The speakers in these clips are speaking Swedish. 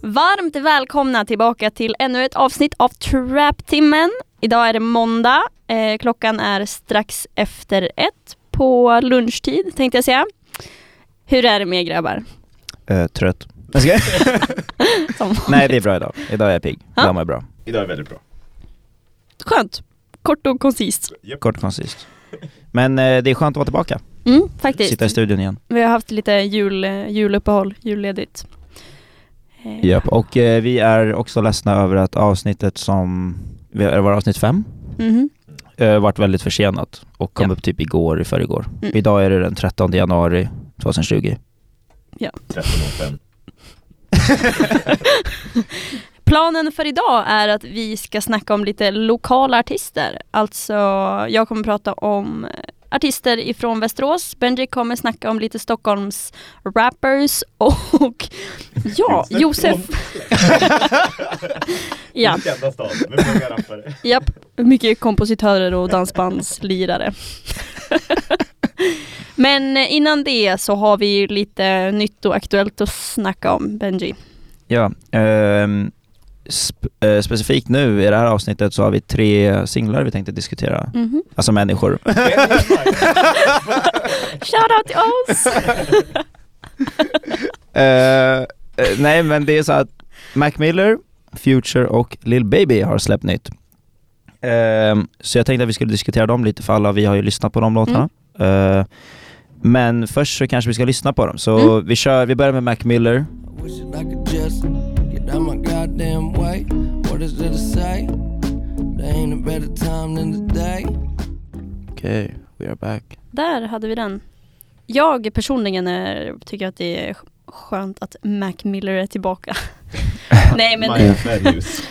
Varmt välkomna tillbaka till ännu ett avsnitt av Trap-timmen. Idag är det måndag. Eh, klockan är strax efter ett på lunchtid tänkte jag säga. Hur är det med er grabbar? Eh, trött. Jag ska- Som- Nej det är bra idag. Idag är jag pigg. Ja. Idag mår jag bra. Idag är väldigt bra. Skönt. Kort och koncist. Kort och koncist. Men eh, det är skönt att vara tillbaka. Mm, faktiskt. Sitta i studion igen. Vi har haft lite jul, eh, juluppehåll, julledigt. Eh, Japp. Och eh, vi är också ledsna över att avsnittet som, vi- det var avsnitt fem, mhm. eh, varit väldigt försenat och kom upp typ igår, i förrgår. Mm. Idag är det den 13 januari 2020. 13.05. Planen för idag är att vi ska snacka om lite lokala artister. Alltså, jag kommer prata om eh, artister ifrån Västerås. Benji kommer snacka om lite Stockholms rappers och ja, Josef. ja, Den enda staden med många rappare. japp, mycket kompositörer och dansbandslirare. Men eh, innan det så har vi ju lite nytt och aktuellt att snacka om, Benji. Ja, ehm, sp- eh, specifikt nu i det här avsnittet så har vi tre singlar vi tänkte diskutera. Mhm. Alltså människor. Shoutout till oss! Eh, eh, nej men det är så att Mac Miller, Future och Lil Baby har släppt nytt. Ehm, så jag tänkte att vi skulle diskutera dem lite för alla vi har ju lyssnat på de låtarna. Mm. Eh, men först så kanske vi ska lyssna på dem. Så Mm. vi, kör, vi börjar med Mac Miller. Wish that I could just get out my goddamn way. What is there to say? There ain't a better time than today. Okej, we are back. Där hade vi den. Jag personligen är, tycker att det är skönt att Mac Miller är tillbaka. nej, men, Maja Ferrius.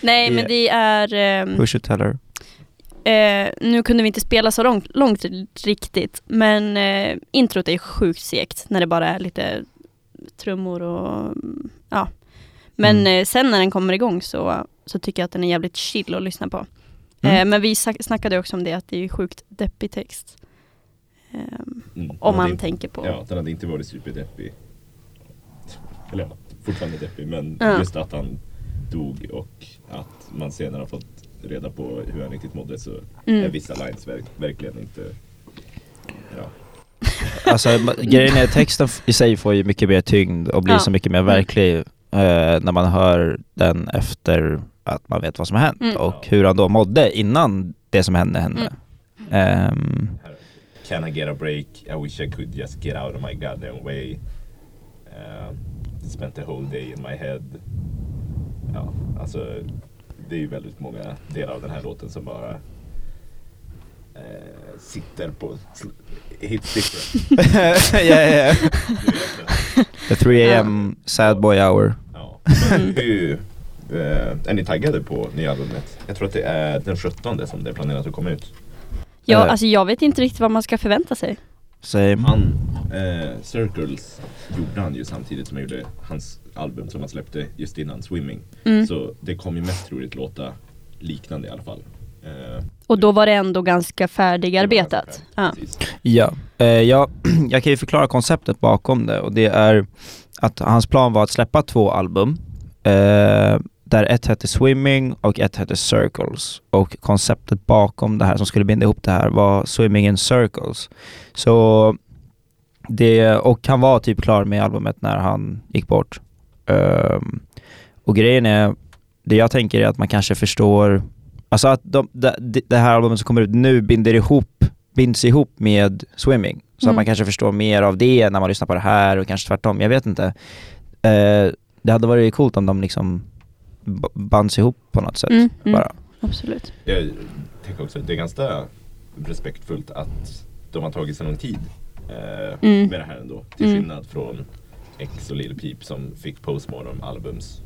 nej men det är... ehm, Push it teller. eh, nu kunde vi inte spela så långt, långt riktigt, men eh, introt är sjukt segt när det bara är lite trummor och mm, ja. Men Mm. eh, sen när den kommer igång så, så tycker jag att den är jävligt chill att lyssna på. Eh, Mm. men vi sa- snackade också om det att det är sjukt deppig text. Ehm, Mm. om man Den hade tänker på. inte- Ja, den hade inte varit superdeppig. Eller ja, fortfarande deppig, men Ja. just att han dog och att man senare har fått reda på hur han riktigt mådde så är Mm. vissa lines verk- verkligen inte... Ja. Alltså ma- grejen är att texten f- i sig får ju mycket mer tyngd och blir Mm. Ja. Mm. så mycket mer verklig eh, när man hör den efter att man vet vad som har hänt Mm. och hur han då mådde innan det som hände hände. Mm. Ehm, Can I get a break? I wish I could just get out of my goddamn way. Uh, spent the whole day in my head. Ja, alltså det är ju väldigt många delar av den här låten som bara eh, sitter på... sl- Hits different. yeah, yeah. Du vet det. The 3 am sad boy hour. Ja. Men hur, eh, är ni taggade på nya albumet? Jag tror att det är den 17 som det är planerat att komma ut. Ja, Eh. alltså jag vet inte riktigt vad man ska förvänta sig. Mm. Same. Han, eh, Circles gjorde han ju samtidigt som han gjorde hans album som han släppte just innan, Swimming. Mm. Så det kommer ju mest troligt låta liknande i alla fall. Eh, Och då var det ändå ganska färdigarbetat. det var Ja. ganska färdigt, precis. Ja. Eh, ja, jag kan ju förklara konceptet bakom det och det är att hans plan var att släppa två album eh, där ett hette Swimming och ett hette Circles. Och konceptet bakom det här som skulle binda ihop det här var Swimming in Circles. Så det, och han var typ klar med albumet när han gick bort. Ehm, och grejen är, det jag tänker är att man kanske förstår, alltså att de, det- det- det här albumet som kommer ut nu binder ihop, binds ihop med Swimming. Så Mm. att man kanske förstår mer av det när man lyssnar på det här och kanske tvärtom, jag vet inte. Eh, det hade varit coolt om de liksom b- bands ihop på något sätt. Mm, mm, Bara. absolut. Jag tänker också att det är ganska respektfullt att de har tagit så lång tid eh, Mm. med det här ändå. Till Mm. skillnad från X och Lil Peep som fick Postmortem albums.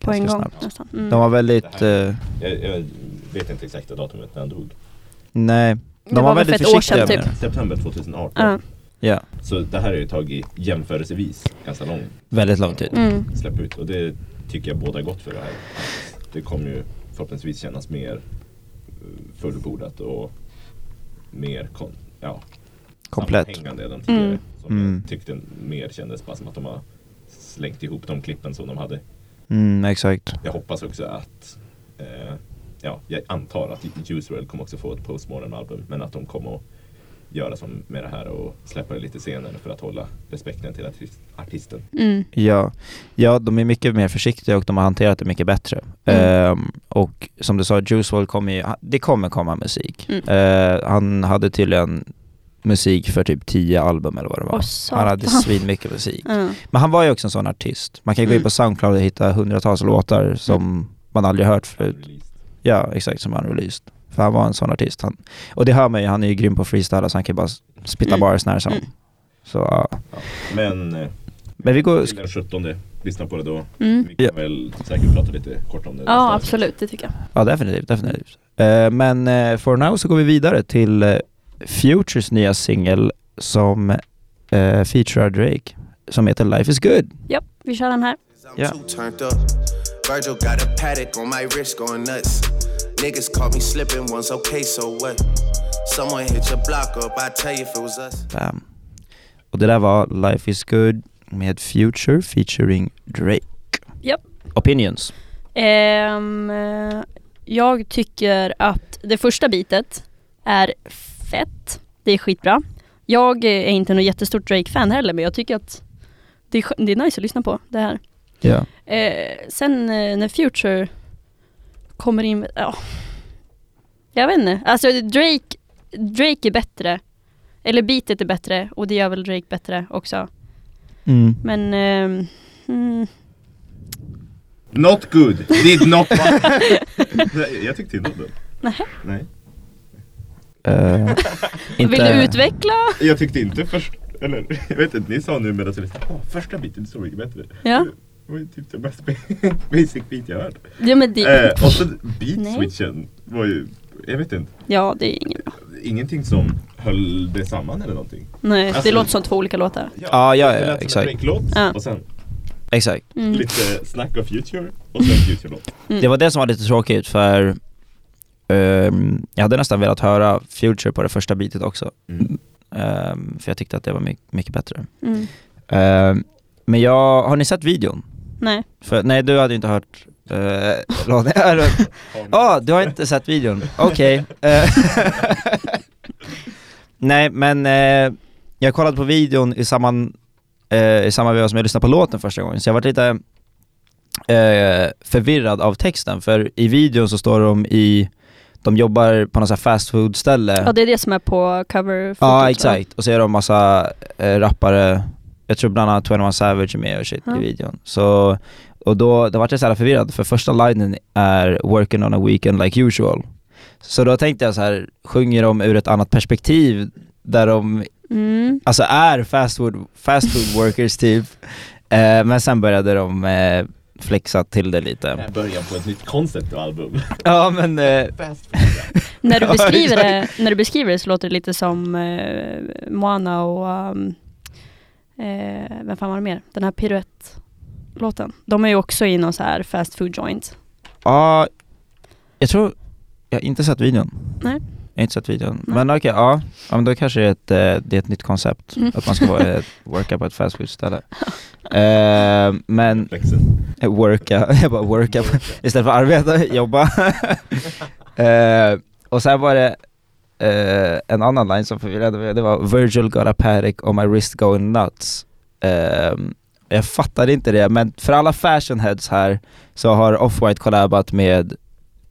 På en Ganska gång snabbt. nästan. Mm. De var väldigt, eh, Jag, jag vet inte exakta datumet när han dog. nej, de Det var, var väl väldigt för ett år försiktiga sedan, med typ. det. September 2018. Ja. Ja, Så det här har ju tagit jämförelsevis ganska lång väldigt lång tid. Mm. släpp ut och det tycker jag båda gott för det här. Det kommer ju förhoppningsvis kännas mer eh, fullbordat och mer kon- ja, Komplett. sammanhängande än de tidigare. Mm. Som Mm. jag tyckte mer kändes bara som att de har slängt ihop de klippen som de hade. Mm, exakt. Jag hoppas också att, eh, ja, jag antar att Usual kommer också få ett postmodern-album, men att de kommer att göra som med det här och släppa det lite senare för att hålla respekten till artist- artisten. Mm. Ja. ja, de är mycket mer försiktiga och de har hanterat det mycket bättre. Mm. Ehm, och som du sa, Juice WRLD kommer ju, det kommer komma musik. Mm. Eh, han hade tydligen musik för typ 10 album eller vad det var. Åh, han hade satan. svinmycket musik. Ja. Men han var ju också en sån artist. Man kan ju gå in Mm. på Soundcloud och hitta hundratals låtar som man aldrig hört förut. Released. Ja, exakt som han released. För han var en sån artist. Han, och det hör man ju, han är ju grym på att freestyla så han kan ju bara s- spitta Mm. bars när som. Mm. Så ja. Men eh, Men vi går... till den 17, lyssna på det då. Mm. Vi kan väl säkert prata lite kort om det. ja, absolut, det tycker jag. Ja, definitivt, definitivt. Eh, men eh, for now så går vi vidare till eh, Futures nya singel som uh, featurar Drake, som heter Life is good. Japp, vi kör den här. I'm Yeah. too turned up. Virgil got a paddock on my wrist going nuts. Niggas caught me slipping once, okay, so what? Someone hit your block up, I tell you if it was us. Bam. eh, Och det där var Life is good med Future featuring Drake. Japp. Opinions. Ehm, eh, jag tycker att det första bitet är fett. Det är skitbra. Jag eh, är inte något jättestort Drake-fan heller, men jag tycker att det är, skö- det är nice att lyssna på det här. Ja. Eh, sen eh, när Future kommer in, ja. Jag vet inte. Alltså Drake, Drake är bättre. Eller beatet är bättre och det gör väl Drake bättre också. Mm. Men ehm, mm, Not good, did not Nej, Jag tyckte inte om den. Nej. Nej. Eh, vill inte- du utveckla? Jag tyckte inte först, eller jag vet inte, ni sa nu medan jag lyssnade, åh första biten är så mycket bättre. Ja, Det var ju typ det mest basic beat jag hört. ja men det, Eh, och så Nej. beat-switchen var ju, jag vet inte, ja, det är inget bra. ingenting som höll det samman eller någonting. Nej, Alltså- det låter som två olika låtar. Ja, ja, ja, det lät som en exakt. Drake-låt Ja. och sen Exakt. Mm. lite snack of future och sen future-låt. Det var det som var lite tråkigt för ehm, jag hade nästan velat höra Future på det första beatet också. Mm. Ehm, för jag tyckte att det var my- mycket bättre. Mm. Ehm, men jag, har ni sett videon? Nej. För, nej, du hade inte hört eh, låten. Ja, Ah, du har inte sett videon. Okej. Eh, nej, men eh, jag kollade på videon i samma, eh, i samma veva som jag lyssnade på låten första gången, så jag var lite eh, förvirrad av texten, för i videon så står de i, de jobbar på något sånt här fast food ställe Ja, det är det som är på cover Ja exakt, och så är de massa eh, rappare, jag tror bland annat 21 Savage är med och shit Ja. i videon. Så, och då, då vart jag så här förvirrad, för första linen är 'working on a weekend like usual' Så då tänkte jag så här, sjunger de ur ett annat perspektiv där de Mm. alltså är fast food, fast food workers typ? Eh, men sen började de eh, flexa till det lite. Början på ett nytt koncept och album. Ja men, eh, Fast När, du Ja, beskriver det, när du beskriver det så låter det lite som eh, Moana och um, eh, vem fan var det mer? Den här piruett-låten. De är ju också i någon så här fast food joint. ja, jag tror, jag har inte sett videon. Nej. Jag har inte sett videon. Nej. Men okej, ja. ja. men då kanske det är ett, eh, det är ett nytt koncept. Mm. Att man ska vara, eh, worka på ett fast food-ställe. Eh, men Flexen. eh, worka, jag bara worka på- istället för arbeta, jobba. Eh, och sen var det eh, en annan line som förvirrade mig. Det var Virgil got a paddock on my wrist going nuts. Eh, jag fattade inte det, men för alla fashion heads här så har Off-White collabat med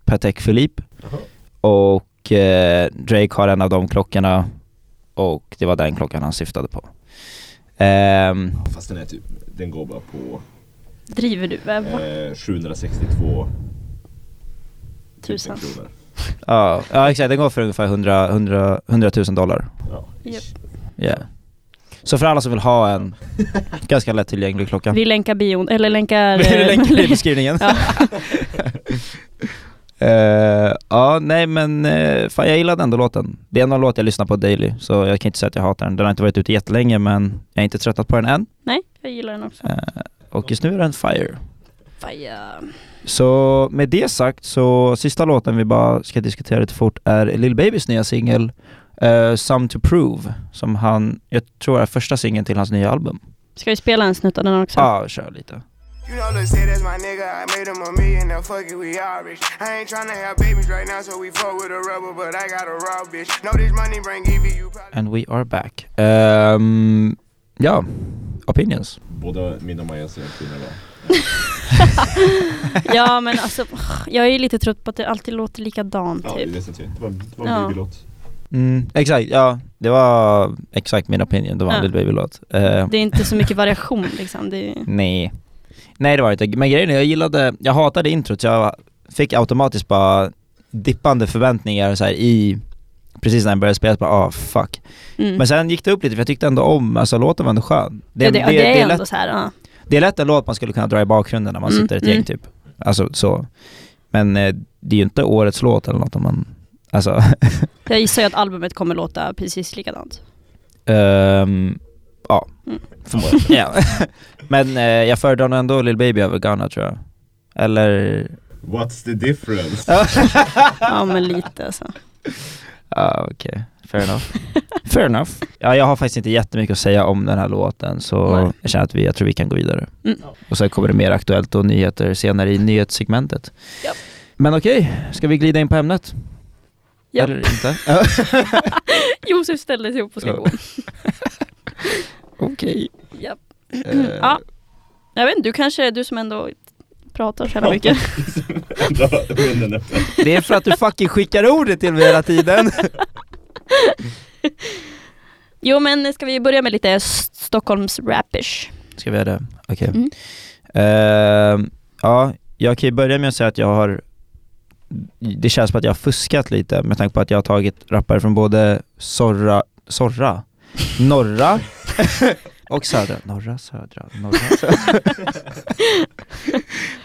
Patek Philippe Jaha. och eh, Drake har en av de klockorna och det var den klockan han syftade på. Ehm, Fast den är typ, den går bara på Driver du? Vad var eh, 762 typ tusan? kronor. ja, ja exakt, den går för ungefär 100, 100, 100 000 dollar. Ja. Japp. Yeah. Så för alla som vill ha en ganska lättillgänglig klocka. Vi länkar bion, eller länkar... Vill du eh, länka det i beskrivningen? Ja. Eh, ja, nej men eh, fan jag gillade ändå låten. Det är en av låt jag lyssnar på daily, så jag kan inte säga att jag hatar den. Den har inte varit ute jättelänge men jag är inte tröttat på den än. Nej, jag gillar den också. Eh, och just nu är den fire. Faja. Så med det sagt så sista låten vi bara ska diskutera lite fort är Lil Babys nya singel eh, Some To Prove som han, jag tror är första singeln till hans nya album. Ska vi spela en snutt av den också? Ja, kör lite. You know, Lil said that's my nigga. I made him a million. Now fuck it, we all rich. I ain't tryna have babies right now, so we fuck with a rubber. But I got a raw bitch. Know this money bring Evie. You probably And we are back. Ehm, ja, opinions. Båda mina Maja-scener var... Ja men alltså, jag är ju lite trött på att det alltid låter likadant Ja, det är typ. det som är- det var, det var Ja. en babylåt. Mm, exakt, ja. Det var exakt min opinion. Det var Ja. en Lil Baby-låt. Ehm, Det är inte så mycket variation liksom. Det är... Nej. Nej det var det inte. Men grejen är, jag gillade, jag hatade introt så jag fick automatiskt bara dippande förväntningar så här i Precis när jag började spela, så bara ah fuck. Mm. Men sen gick det upp lite för jag tyckte ändå om, alltså låten var ändå skön. Det, ja, det, ja, det är lätt, ändå så här, ja. det är lätt en låt man skulle kunna dra i bakgrunden när man Mm, sitter ett gäng mm. typ. Alltså så. Men eh, det är ju inte årets låt eller något om man, alltså. Jag gissar ju att albumet kommer låta precis likadant. Ehm, ja, Mm. förmodligen. Ja. Men eh, jag föredrar nog ändå Lil Baby över Ghana tror jag. Eller What's the difference? Ja men lite alltså. Ja, Ah, okej. Fair enough. Fair enough. Ja, jag har faktiskt inte jättemycket att säga om den här låten, så Nej. jag känner att vi, jag tror vi kan gå vidare. Mm. Och sen kommer det mer Aktuellt och nyheter senare i nyhetssegmentet. Japp. Men okej, ska vi glida in på ämnet? Japp. Eller inte? Josef ställde sig upp och ska Ja. gå. okej. Japp. Eh, Ja. Jag vet inte, du kanske, du som ändå pratar så jävla mycket. Då hade vi den efter. Det är för att du fucking skickar ordet till mig hela tiden. Jo men ska vi börja med lite S- Stockholms rapish? Ska vi göra det? Okej. Mm. Ehm, ja, jag kan ju börja med att säga att jag har Det känns som att jag har fuskat lite med tanke på att jag har tagit rappare från både Sorra, Sorra, Norra och Södra. Norra, Södra, Norra, Södra.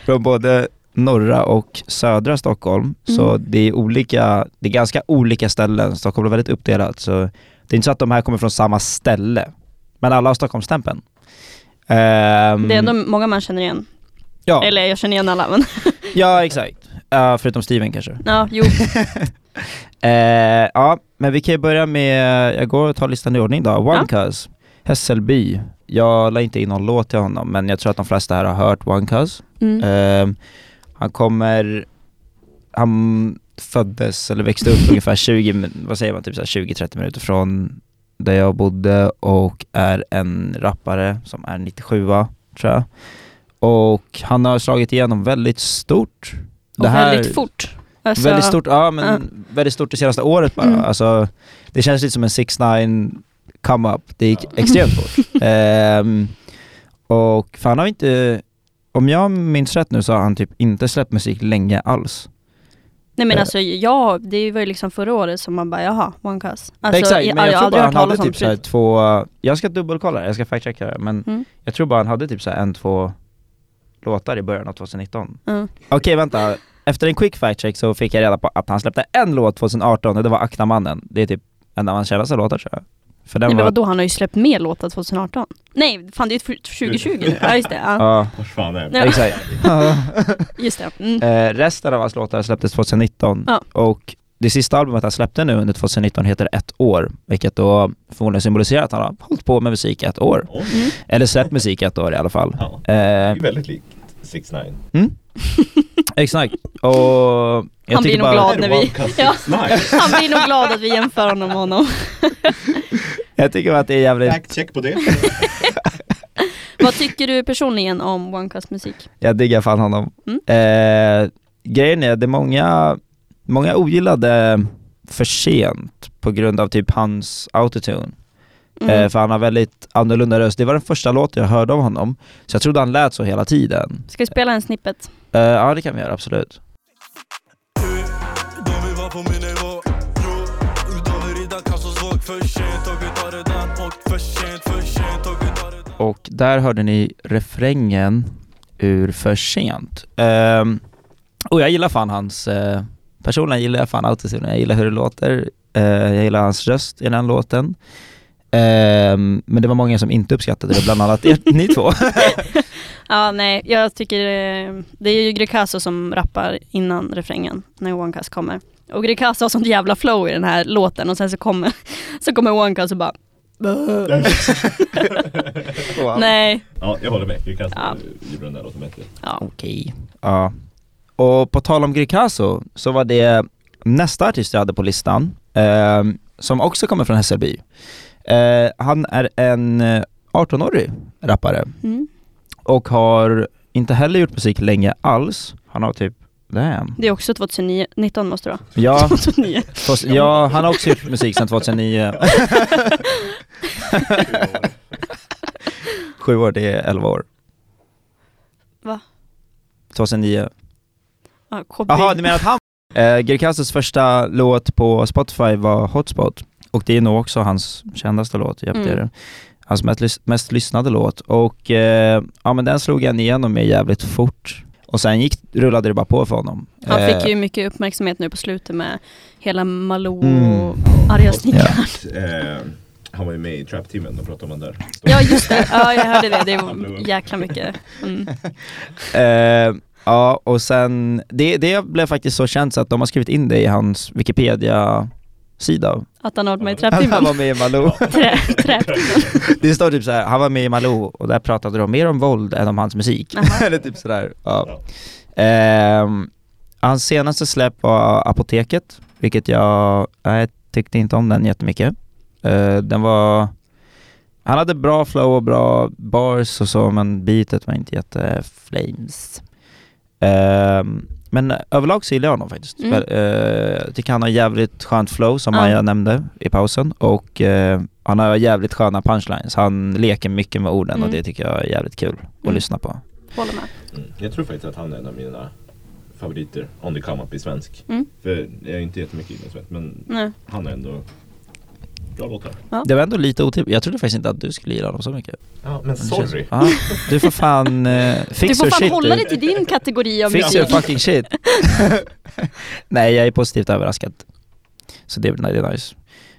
från både norra och södra Stockholm. Så Mm. det är olika, det är ganska olika ställen. Stockholm är väldigt uppdelat så det är inte så att de här kommer från samma ställe. Men alla har Stockholmsstämpeln. Ehm, Det är ändå många man känner igen. ja. Eller jag känner igen alla men. Ja, exakt. Ja, förutom Steven kanske. Ja, jo. Eh, ja, men vi kan ju börja med, jag går och tar listan i ordning då. One Cuz, Hässelby. Jag la inte in någon låt till honom, men jag tror att de flesta här har hört One Cuz. Mm. Eh, han kommer, han föddes eller växte upp ungefär 20, min- vad säger man, typ så här 20-30 minuter från där jag bodde och är en rappare som är 97 tror jag. Och han har slagit igenom väldigt stort. Och väldigt fort. Alltså, Väldigt stort, ja men ja. väldigt stort det senaste året bara. Mm. Alltså, det känns lite som en 6 9 come up. Det gick extremt fort. Ehm, och för han har inte, om jag minns rätt nu så har han typ inte släppt musik länge alls. Nej men Eh. alltså ja, det var ju liksom förra året som man bara jaha, one cuss. Alltså, Exakt, men jag, har tror aldrig bara hört han hade talas om typ såhär förut. två, jag ska dubbelkolla det, jag ska factchecka det, men Mm. jag tror bara han hade typ såhär en, två låtar i början av 2019. Mm. Okej vänta, efter en quick factcheck så fick jag reda på att han släppte en låt 2018 och det var Aknamannen. Det är typ en av hans kändaste låtar tror jag. För den Nej men var vadå, han har ju släppt mer låtar 2018. Nej, fan det är för- 2020 nu. Ja just det, ja. Ja, Vart fan är Ja. det? exakt. Ja. Just det. Mm. Eh, resten av hans låtar släpptes 2019 Ja. och det sista albumet han släppte nu under 2019 heter Ett år, vilket då förmodligen symboliserar att han har hållit på med musik i ett år. Mm. Oj, Eller släppt musik i ett år i alla fall. Ja. Det Eh, är väldigt likt 6 9 Mm. exakt. Och jag Han blir tycker nog bara, glad när vi... Ja, Nej. han blir nog glad att vi jämför honom med honom. Jag tycker bara att det är jävligt Fact check på det. Vad tycker du personligen om One Cuss musik? Jag diggar fan honom. Mm. Eh, grejen är, det är många, många ogillade för sent på grund av typ hans autotune. Mm. Eh, för han har väldigt annorlunda röst. Det var den första låten jag hörde av honom, så jag trodde han lät så hela tiden. Ska vi spela en snippet? Eh, ja, det kan vi göra, absolut. De vill vara på min nivå Jo, de vill rida kass och svag För sent och vi tar det där Och för sent, för sent och vi tar det där Och där hörde ni refrängen ur För sent. Ehm, och jag gillar fan hans... Eh, personligen gillar jag fan autotune. Jag gillar hur det låter. Eh, jag gillar hans röst i den låten. Ehm, men det var många som inte uppskattade det, bland annat er, ni två. Ja, nej, jag tycker eh, det är ju Greekazo som rappar innan refrängen när One Cuss kommer. Och Greekazo har sånt jävla flow i den här låten och sen så kommer, så kommer One Cuss och bara Wow. Nej, Ja, jag håller med. Gricasso Ja. gjorde den där låten bättre. ja. Okej. Ja. Och på tal om Greekazo så var det nästa artist jag hade på listan, eh, som också kommer från Hässelby. Eh, han är en eh, 18-årig rappare Mm. och har inte heller gjort musik länge alls. Han har typ, damn. Det är också 2019 måste det vara. Ja, 2009. fast- ja, han har också gjort musik sedan 2009. Sju år, det är 11 år. Va? 2009. Ja, KB. Jaha, du menar att han... Eh, Girkazos första låt på Spotify var Hotspot, och det är nog också hans kändaste låt, hjälpte Mm. det. Hans mest, lys- mest lyssnade låt, och eh, ja men den slog han igenom med jävligt fort. Och sen gick, rullade det bara på för honom. Han Eh, fick ju mycket uppmärksamhet nu på slutet med hela Malou Mm. och arga snickaren. Ja. Eh, han var ju med i Trap-teamen, då pratade man där. Ja just det, ja, jag hörde det. Det var jäkla mycket. Mm. Eh, ja, och sen, det, det blev faktiskt så känt så att de har skrivit in det i hans Wikipedia-sida. Att han har varit med i Han var Trap-teamen. med i Malou. Trä, trä. Det står typ såhär, han var med i Malou och där pratade de mer om våld än om hans musik. Jaha. Eller typ sådär. Ja. Ehm, hans senaste släpp var Apoteket, vilket jag, nej, jag tyckte inte om den jättemycket. Eh, den var, han hade bra flow och bra bars och så men beatet var inte jätte flames. Ehm, men överlag så gillar jag honom faktiskt. Mm. Väl- eh, Jag tycker han har jävligt skönt flow som Ja. Maja nämnde i pausen och eh, han har jävligt sköna punchlines. Han leker mycket med orden och Mm. det tycker jag är jävligt kul att Mm. lyssna på. Håller med. Mm. Jag tror faktiskt att han är en av mina favoriter on the come up i svensk. Mm. För jag är inte jättemycket inne i svensk, men Nej. han är ändå bra låtar. Det var ändå lite otippat. Jag trodde faktiskt inte att du skulle gilla honom så mycket. Ja, men Men sorry. känns- Ja, du får fan eh, fix Du får your fan shit hålla du. dig till din kategori av Fix your musik. fucking shit. Nej, jag är positivt överraskad. Så det, nej, det är nice.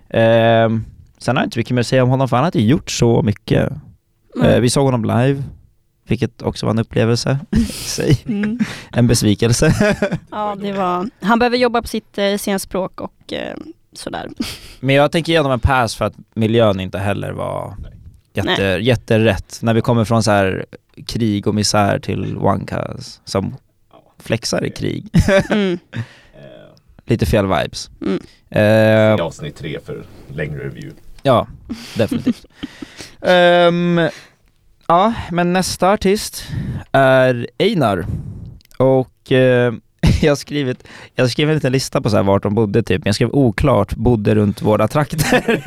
Ehm, sen har jag inte mycket mer att säga om honom, för han har inte gjort så mycket. Eh, Mm. vi såg honom live, vilket också var en upplevelse i sig. Mm. En besvikelse. Ja, det var... Han behöver jobba på sitt eh, scenspråk och eh, sådär. Men jag tänker ge honom en pass för att miljön inte heller var jätte, jätterätt. När vi kommer från så här krig och misär till Wankas som flexar i krig. Mm. Eh, Lite fel vibes. Mm. Ehm, I avsnitt tre för längre review. Ja, definitivt. Ehm, ja, men nästa artist är Einar. Och eh, jag har skrivit, jag skrev en liten lista på så här vart de bodde typ, men jag skrev oklart, bodde runt våra trakter.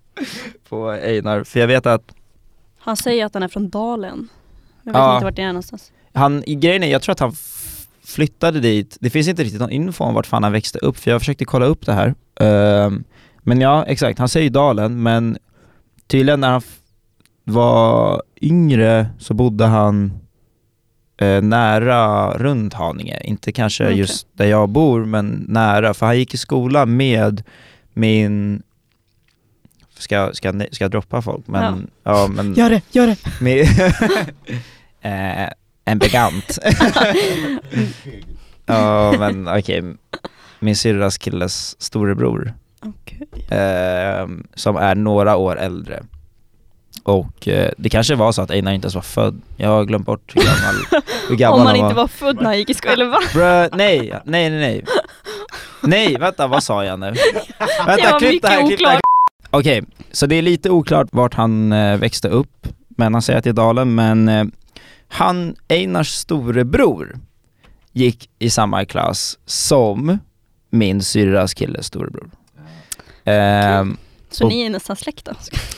på Einar, för jag vet att Han säger att han är från Dalen. Jag vet Ja. inte vart det är någonstans. han, grejen är, jag tror att han f- flyttade dit, det finns inte riktigt någon info om vart fan han växte upp för jag försökte kolla upp det här. Ehm, men ja, exakt, han säger ju Dalen men tydligen när han f- var yngre så bodde han eh, nära Rundhaninge, inte kanske Okej. just där jag bor men nära, för han gick i skola med min Ska, ska, ni- ska jag droppa folk? Men, ja. men Gör det, gör det! med eh, en bekant. Ja men okej, min syrras killes storebror eh, som är några år äldre. Och eh, det kanske var så att Einar inte ens var född, jag har glömt bort hur gammal, hur gammal Om han inte var född när han gick i skolan, eller va? Bruh, nej, nej, nej, nej. Nej, vänta, vad sa jag nu? Det Vänta, var klipp det här, mycket klipp det här. oklart. Okej, så det är lite oklart vart han eh, växte upp, men han säger att det är Dalen, men eh, han, Einars storebror, gick i samma klass som min syrras killes storebror. Ehm, Så Och- ni är nästan släkt då?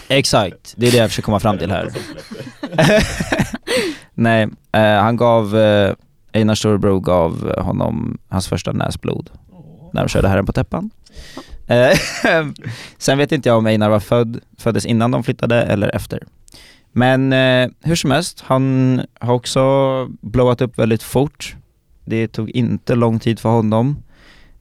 Exakt, det är det jag försöker komma fram till här. Nej, eh, han gav, eh, Einar storebror gav honom hans första näsblod när de körde Herren på täppan. Eh, Sen vet inte jag om Einar var född, föddes innan de flyttade eller efter. Men eh, hur som helst, han har också blowat upp väldigt fort. Det tog inte lång tid för honom.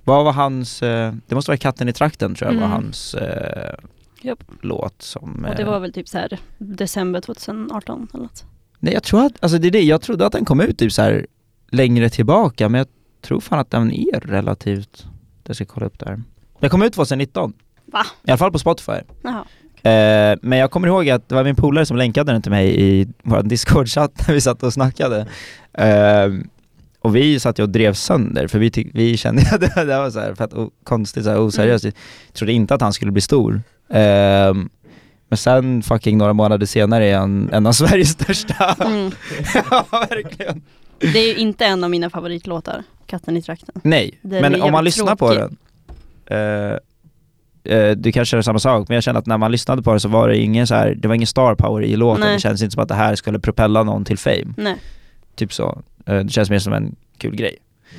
Vad var hans, eh, det måste vara Katten i trakten tror jag var Mm. hans eh, Japp. låt som... Och det eh, var väl typ så här december 2018 eller något. Nej jag tror att, alltså det är det, jag trodde att den kom ut typ så här längre tillbaka men jag tror fan att den är relativt, jag ska kolla upp där. Den kom ut 2019. Va? I alla fall på Spotify. Jaha. Eh, men jag kommer ihåg att det var min polare som länkade den till mig i vår Discord-chatt när vi satt och snackade. Eh, och vi satt ju och drev sönder, för vi, tyck- vi kände att det det var så här fett o- konstigt, så här oseriöst. Jag trodde inte att han skulle bli stor. Eh, men sen fucking några månader senare är han en av Sveriges största. Mm. ja, verkligen. Det är ju inte en av mina favoritlåtar, Katten i trakten. Nej, Den är men om man jävligt lyssnar på tråkig. den eh, eh, Du kanske känner samma sak, men jag känner att när man lyssnade på den så var det ingen så här, det var ingen star power i låten Nej. Det känns inte som att det här skulle propella någon till fame, Nej. typ så Eh, Det känns mer som en kul grej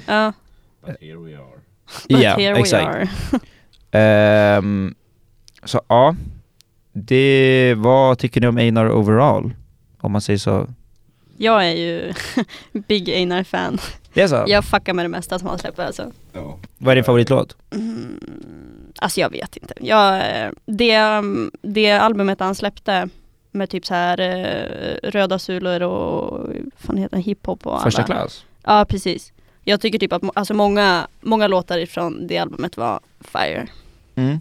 Ja, But here we are. but Ja, here exakt. we are. Ehm, Så ja, det, vad tycker ni om Einar overall? Om man säger så Jag är ju Big Einar-fan. Det är så? Jag fuckar med det mesta som han släpper alltså. Ja. Vad är din favoritlåt? Mm, alltså jag vet inte. Jag, eh, det, det albumet han släppte med typ så här eh, röda sulor och vad fan heter det, hiphop och alla. Första klass? Ja, precis. Jag tycker typ att må- alltså många, många låtar ifrån det albumet var fire. Mm.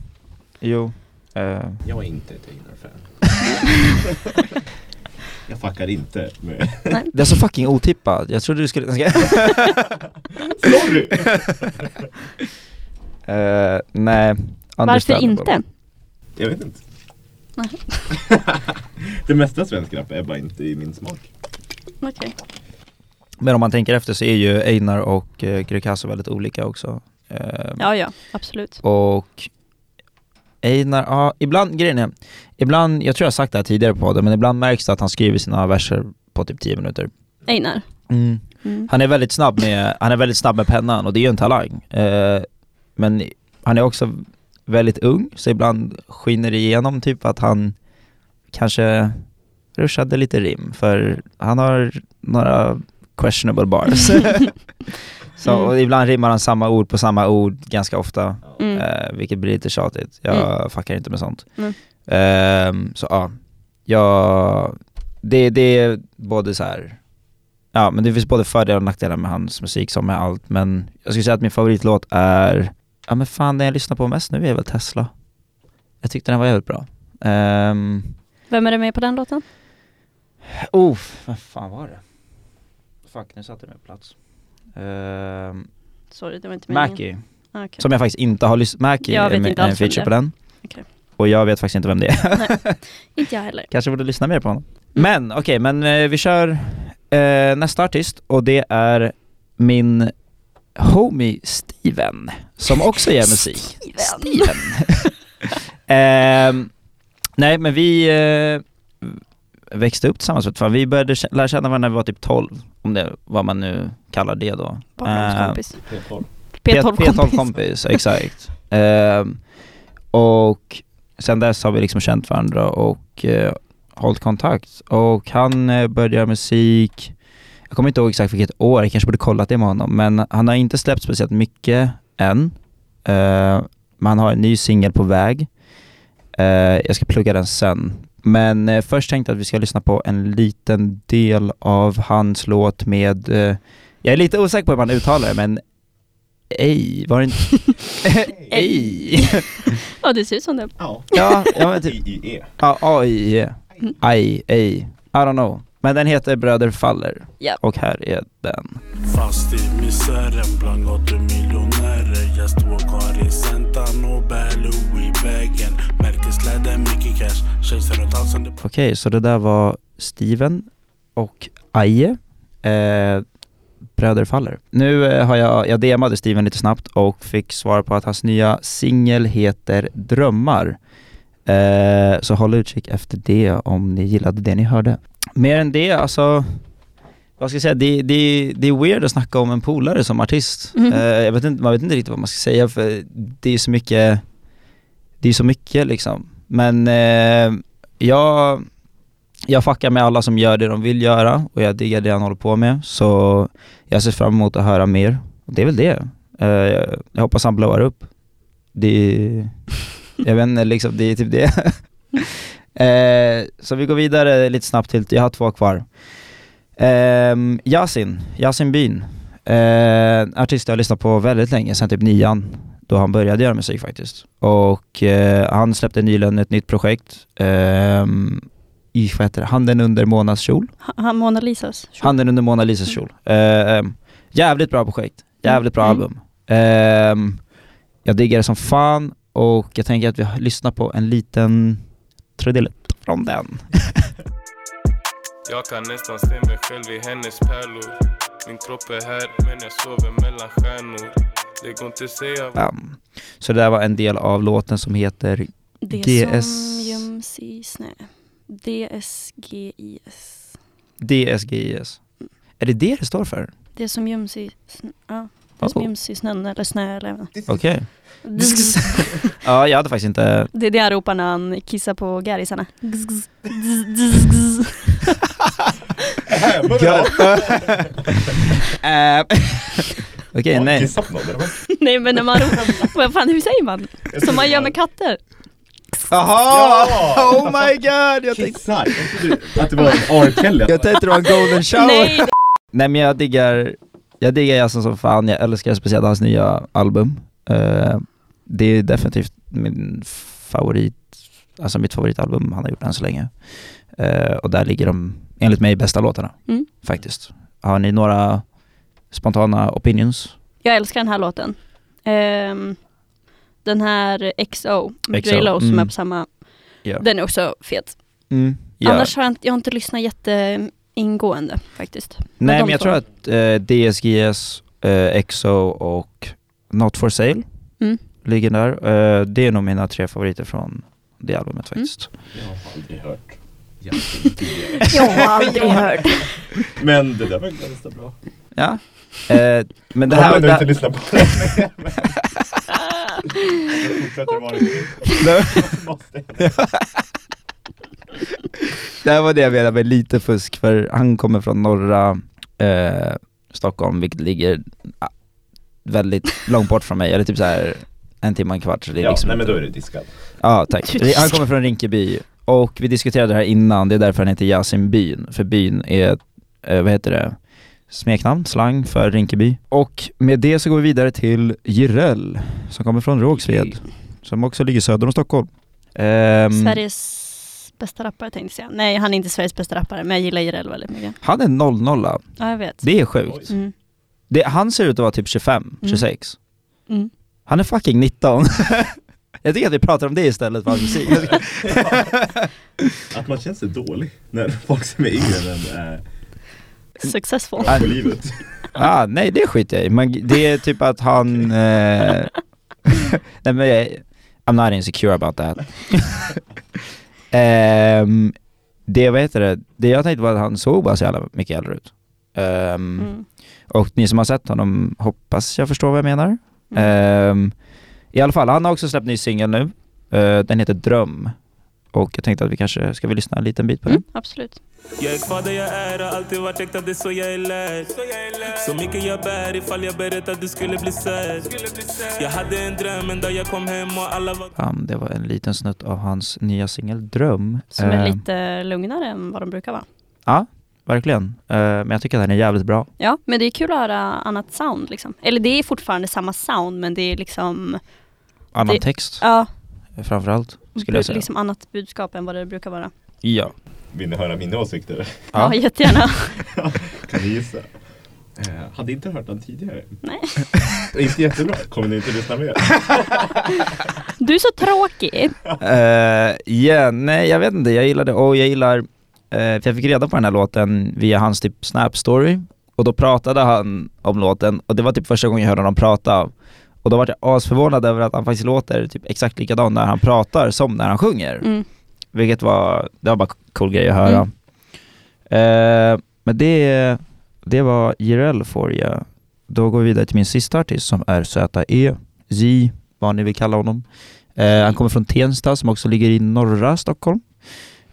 Jo Eh, Jag är inte ett Einar-fan. jag fuckar inte med... Det är så fucking otippat, jag trodde du skulle... Sorry! Eh, nej, Varför understandable. inte? Jag vet inte. Nej. det mesta svensk rap är bara inte i min smak. Okej. Men om man tänker efter så är ju Einar och eh, Greekazo väldigt olika också. Eh, Ja, ja, absolut. Och Einar, ja, ibland, grejen är, ibland, jag tror jag har sagt det här tidigare på podden, men ibland märks det att han skriver sina verser på typ 10 minuter. Einar. Mm. Han är väldigt snabb med, han är väldigt snabb med pennan och det är ju en talang. Eh, men han är också väldigt ung, så ibland skiner det igenom typ att han kanske rushade lite rim, för han har några questionable bars. så, och ibland rimmar han samma ord på samma ord ganska ofta, Mm. eh, vilket blir lite tjatigt. Jag fuckar inte med sånt. Mm. Ehm, så ja, jag, det, det är både så här Ja men det finns både fördelar och nackdelar med hans musik som med allt men jag skulle säga att min favoritlåt är, ja men fan den jag lyssnar på mest nu är väl Tesla. Jag tyckte den var jävligt bra. Um, Vem är det med på den låten? oh, vad fan var det? Fuck nu satte jag mig på plats. Um, Sorry, det var inte meningen. Mackie, Ah, okej. som jag faktiskt inte har lyssnat, Mackie Jag är, vet med- inte är en alls vem feature det på den. Okej. Och jag vet faktiskt inte vem det är. Inte jag heller. Kanske borde lyssna mer på honom. Men okej, men eh, vi kör eh, nästa artist och det är min homie Steven som också gör musik. Steven! Ehm, nej men vi eh, växte upp tillsammans, för fan, vi började kä- lära känna varandra när vi var typ 12, om det vad man nu kallar det då. Ehm, Barndomskompis. P12. P12 P12-kompis. kompis, exakt. Ehm, och sen dess har vi liksom känt varandra och eh, hållit kontakt. Och han eh, började göra musik, jag kommer inte ihåg exakt vilket år, jag kanske borde kollat det med honom, men han har inte släppt speciellt mycket än. Eh, men han har en ny singel på väg. Eh, jag ska plugga den sen. Men eh, först tänkte jag att vi ska lyssna på en liten del av hans låt med, eh, jag är lite osäker på hur man uttalar det, men Ej, var det inte... Ej! Ja, det ser ut som det. Ja. E. ja, ja men typ, IIE. ja, A-I-E. Aj, ej, I don't know. Men den heter Bröder Faller. Ja. Och här är den. Fast i misären bland gatumiljonärer Jag står kvar i Santa Nobel i vägen Märkesläder, mycket cash Tjejsen runt halsen, det Okej, så det där var Steven och Aje. Eh, Bröder Faller. Nu eh, har jag, jag DMade Steven lite snabbt och fick svar på att hans nya singel heter Drömmar. Eh, så håll utkik efter det om ni gillade det ni hörde. Mer än det, alltså vad ska jag säga, det, det, det är weird att snacka om en polare som artist. Mhm. Eh, jag vet inte, man vet inte riktigt vad man ska säga för det är så mycket, det är så mycket liksom. Men eh, jag, jag fuckar med alla som gör det de vill göra och jag diggar det han håller på med. Så jag ser fram emot att höra mer. Och det är väl det. Eh, jag hoppas han blowar upp. Det jag vet inte, liksom, det är typ det. eh, så vi går vidare lite snabbt till, jag har två kvar. Ehm, Yasin, Yasin Bin. Eh, en artist jag har lyssnat på väldigt länge, sen typ nian. då han började göra musik faktiskt. Och eh, han släppte nyligen ett nytt projekt, ehm, i, vad heter det, Handen under Monas kjol. Ha- Han Mona Lisas. Handen under Mona Lisas kjol. Ehm, jävligt bra projekt, jävligt bra Mm. album. Ehm, jag diggar det som fan och jag tänker att vi lyssnar på en liten trudelutt från den. Jag kan nästan se mig själv i hennes pärlor Min kropp är här men jag sover mellan stjärnor Det går inte säga Bam. Ehm, Så det där var en del av låten som heter Det som GS. göms i snö. DSGIS. DSGIS. Är det det det står för? Det som göms i snö. Ja. Det som Oh, göms i snön eller snö eller vad. Okej. Ja, jag hade faktiskt inte... Det är det han ropar när han kissar på gärisarna. Ehm, Okej, nej. Kissa på någon eller vad? Nej men när man ropar, vad fan hur säger man? Som man gör med katter. Jaha! Ja! Oh my god! Jag tänkte, Kissar? Jag trodde Att det var en R. Kelly. jag tänkte det var en golden shower. Nej! det- Nej men jag diggar, jag diggar Jason som fan, jag älskar speciellt hans nya album. Eh, det är definitivt min favorit, alltså mitt favoritalbum han har gjort än så länge. Eh, och där ligger de, enligt mig, bästa låtarna Mm. faktiskt. Har ni några spontana opinions? Jag älskar den här låten. Ehm, den här XO, med XO, J.Lo som mm. är på samma. Ja. Den är också fet. Mm. Ja. Annars har jag inte, jag har inte lyssnat jätteingående faktiskt. Nej de men jag två. tror att eh, DSGS, eh, EXO och Not For Sale Mm. ligger där. Eh, det är nog mina tre favoriter från det albumet Mm. faktiskt. Jag har aldrig hört. Jag har aldrig hört. Men det där var ganska bra. Ja. Eh, men det Jag här... kommer Det, inte lyssna på det. Jag fortsätter vara det. Måste. det här var det jag menade med lite fusk, för han kommer från norra eh, Stockholm, vilket ligger ah, väldigt långt bort från mig, eller typ så här en timme, en kvart. Så det är Ja, liksom nej men inte- då är det diskad. Ja, tack. Han kommer från Rinkeby och vi diskuterade det här innan, det är därför han heter Yasin byn, för byn är, eh, vad heter det, smeknamn, slang för Rinkeby. Och med det så går vi vidare till Jireel som kommer från Rågsved, som också ligger söder om Stockholm. Ehm, Sveriges bästa rappare tänkte jag säga. Nej han är inte Sveriges bästa rappare men jag gillar Jireel väldigt mycket. Han är 00 Ja jag vet. det är sjukt. Mm. Det, han ser ut att vara typ 25, 26. Mm. Han är fucking 19. Jag tycker att vi pratar om det istället för hans musik. Att man känner sig dålig när folk som är yngre än en är Successful. bra på livet. Ah, nej det skiter jag i, men det är typ att han... Eh, nej men jag, I'm not insecure about that. Ehm, det, vad heter det, det jag tänkte var att han såg bara så jävla mycket äldre ut. Ehm, Mm. Och ni som har sett honom hoppas jag förstår vad jag menar. Mm. Ehm, I alla fall, han har också släppt ny singel nu. Eh, den heter Dröm. Och jag tänkte att vi kanske, ska vi lyssna en liten bit på Mm, absolut. Jag är kvar där jag är, har alltid varit äkta, det är så jag är lärd. Så mycket jag bär ifall jag berättar du skulle bli sedd. Jag hade en dröm en dag jag kom hem och alla Mm. var... den? Um, det var en liten snutt av hans nya singel Dröm. Som är Ehm, lite lugnare än vad de brukar vara. Verkligen. Eh, men jag tycker att den är jävligt bra. Ja, men det är kul att höra annat sound liksom. Eller det är fortfarande samma sound men det är liksom, Annan Det- text ja, framförallt, skulle jag säga. liksom annat budskap än vad det brukar vara. Ja. Vill ni höra mina åsikter? Ja, Ja. jättegärna. Kan ni gissa? Eh, hade inte hört den tidigare. Nej. inte jättebra. Kommer ni inte lyssna mer? Du är så tråkig. Eh, ja, nej jag vet inte, jag gillar det. Och jag gillar, eh, för jag fick reda på den här låten via hans typ Snap-story. Och då pratade han om låten, och det var typ första gången jag hörde honom prata. Och då var jag asförvånad över att han faktiskt låter typ exakt likadan när han pratar som när han sjunger. Mm. Vilket var, det var bara cool grej att höra. Eh, men det, det var Jireel for you. Då går vi vidare till min sista artist som är ZE, Z, vad ni vill kalla honom. Eh, han kommer från Tensta som också ligger i norra Stockholm.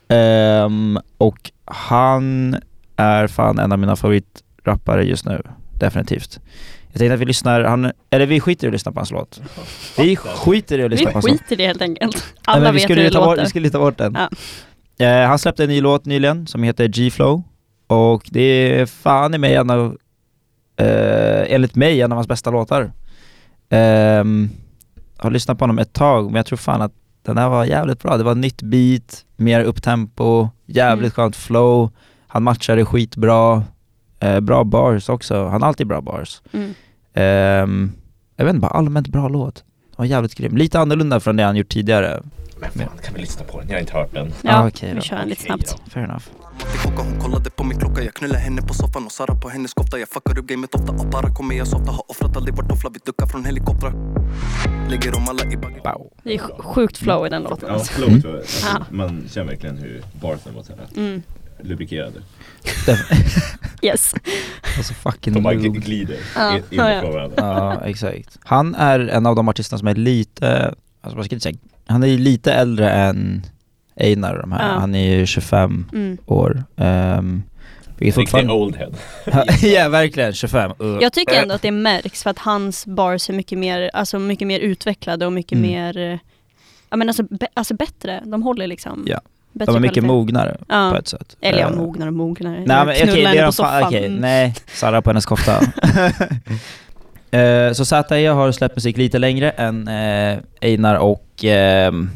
Ehm, och han är fan en av mina favoritrappare just nu, definitivt. Jag tänkte att vi lyssnar, han, eller vi skiter i att lyssna på hans låt. Vi skiter i att Vi lyssna på hans låt. skiter i det helt enkelt. Nej, Alla men vi vet hur skulle det ju ta bort, låter. Vi skulle ju ta bort den. Ja. Eh, han släppte en ny låt nyligen som heter G-Flow och det är fan i mig en av, eh, enligt mig, en av hans bästa låtar. Ehm, har lyssnat på honom ett tag, men jag tror fan att den här var jävligt bra. Det var nytt beat, mer upptempo, jävligt Mm. skönt flow, han matchade skitbra, eh, bra bars också. Han har alltid bra bars. Mm. Ehm, jag vet inte, bara allmänt bra låt. Den var jävligt grym. Lite annorlunda från det han gjort tidigare. Men fan, kan vi lyssna på den? Jag har inte hört den. Ja, Ah, okej vi då. kör en lite Okej snabbt. Fair enough. till klocka Hon kollade på min klocka Jag knullar henne på soffan och sarrar på hennes kofta Jag fuckar upp gamet ofta Apara kommer jag softa Har offrat aldrig varit toffla Vi duckar från helikoptrar Lägger om alla i baggen Wow. Det är sj- sjukt flow i den låten. Ja, Alltså. flowet var, alltså, Ja. man känner verkligen hur barsen var såhär Mm. lubrikerade. Yes. Alltså fucking De bara noob. gl- glider Ja, in in ja, ja. på varandra. Ja, exakt. Han är en av de artisterna som är lite, alltså vad ska jag säga, han är ju lite äldre än Einar och de här. Ja. Han är ju 25 Mm. år. Um, vilket Riktig fortfarande... old head. ja, verkligen 25. Uh. Jag tycker ändå att det märks för att hans bars är mycket mer, alltså mycket mer utvecklade och mycket Mm. mer, eh, ja men alltså, bä- alltså bättre, de håller liksom Ja. bättre De är mycket kvalitet. mognare på Ja. ett sätt. Eller ja, Eh, mognare och mognare. Nej men okej, Knulla det henne är på de fan, soffan. okej, Mm. nej. Sarah på hennes kofta. Eh, så ZE har släppt musik lite längre än eh, Einar och... ehm,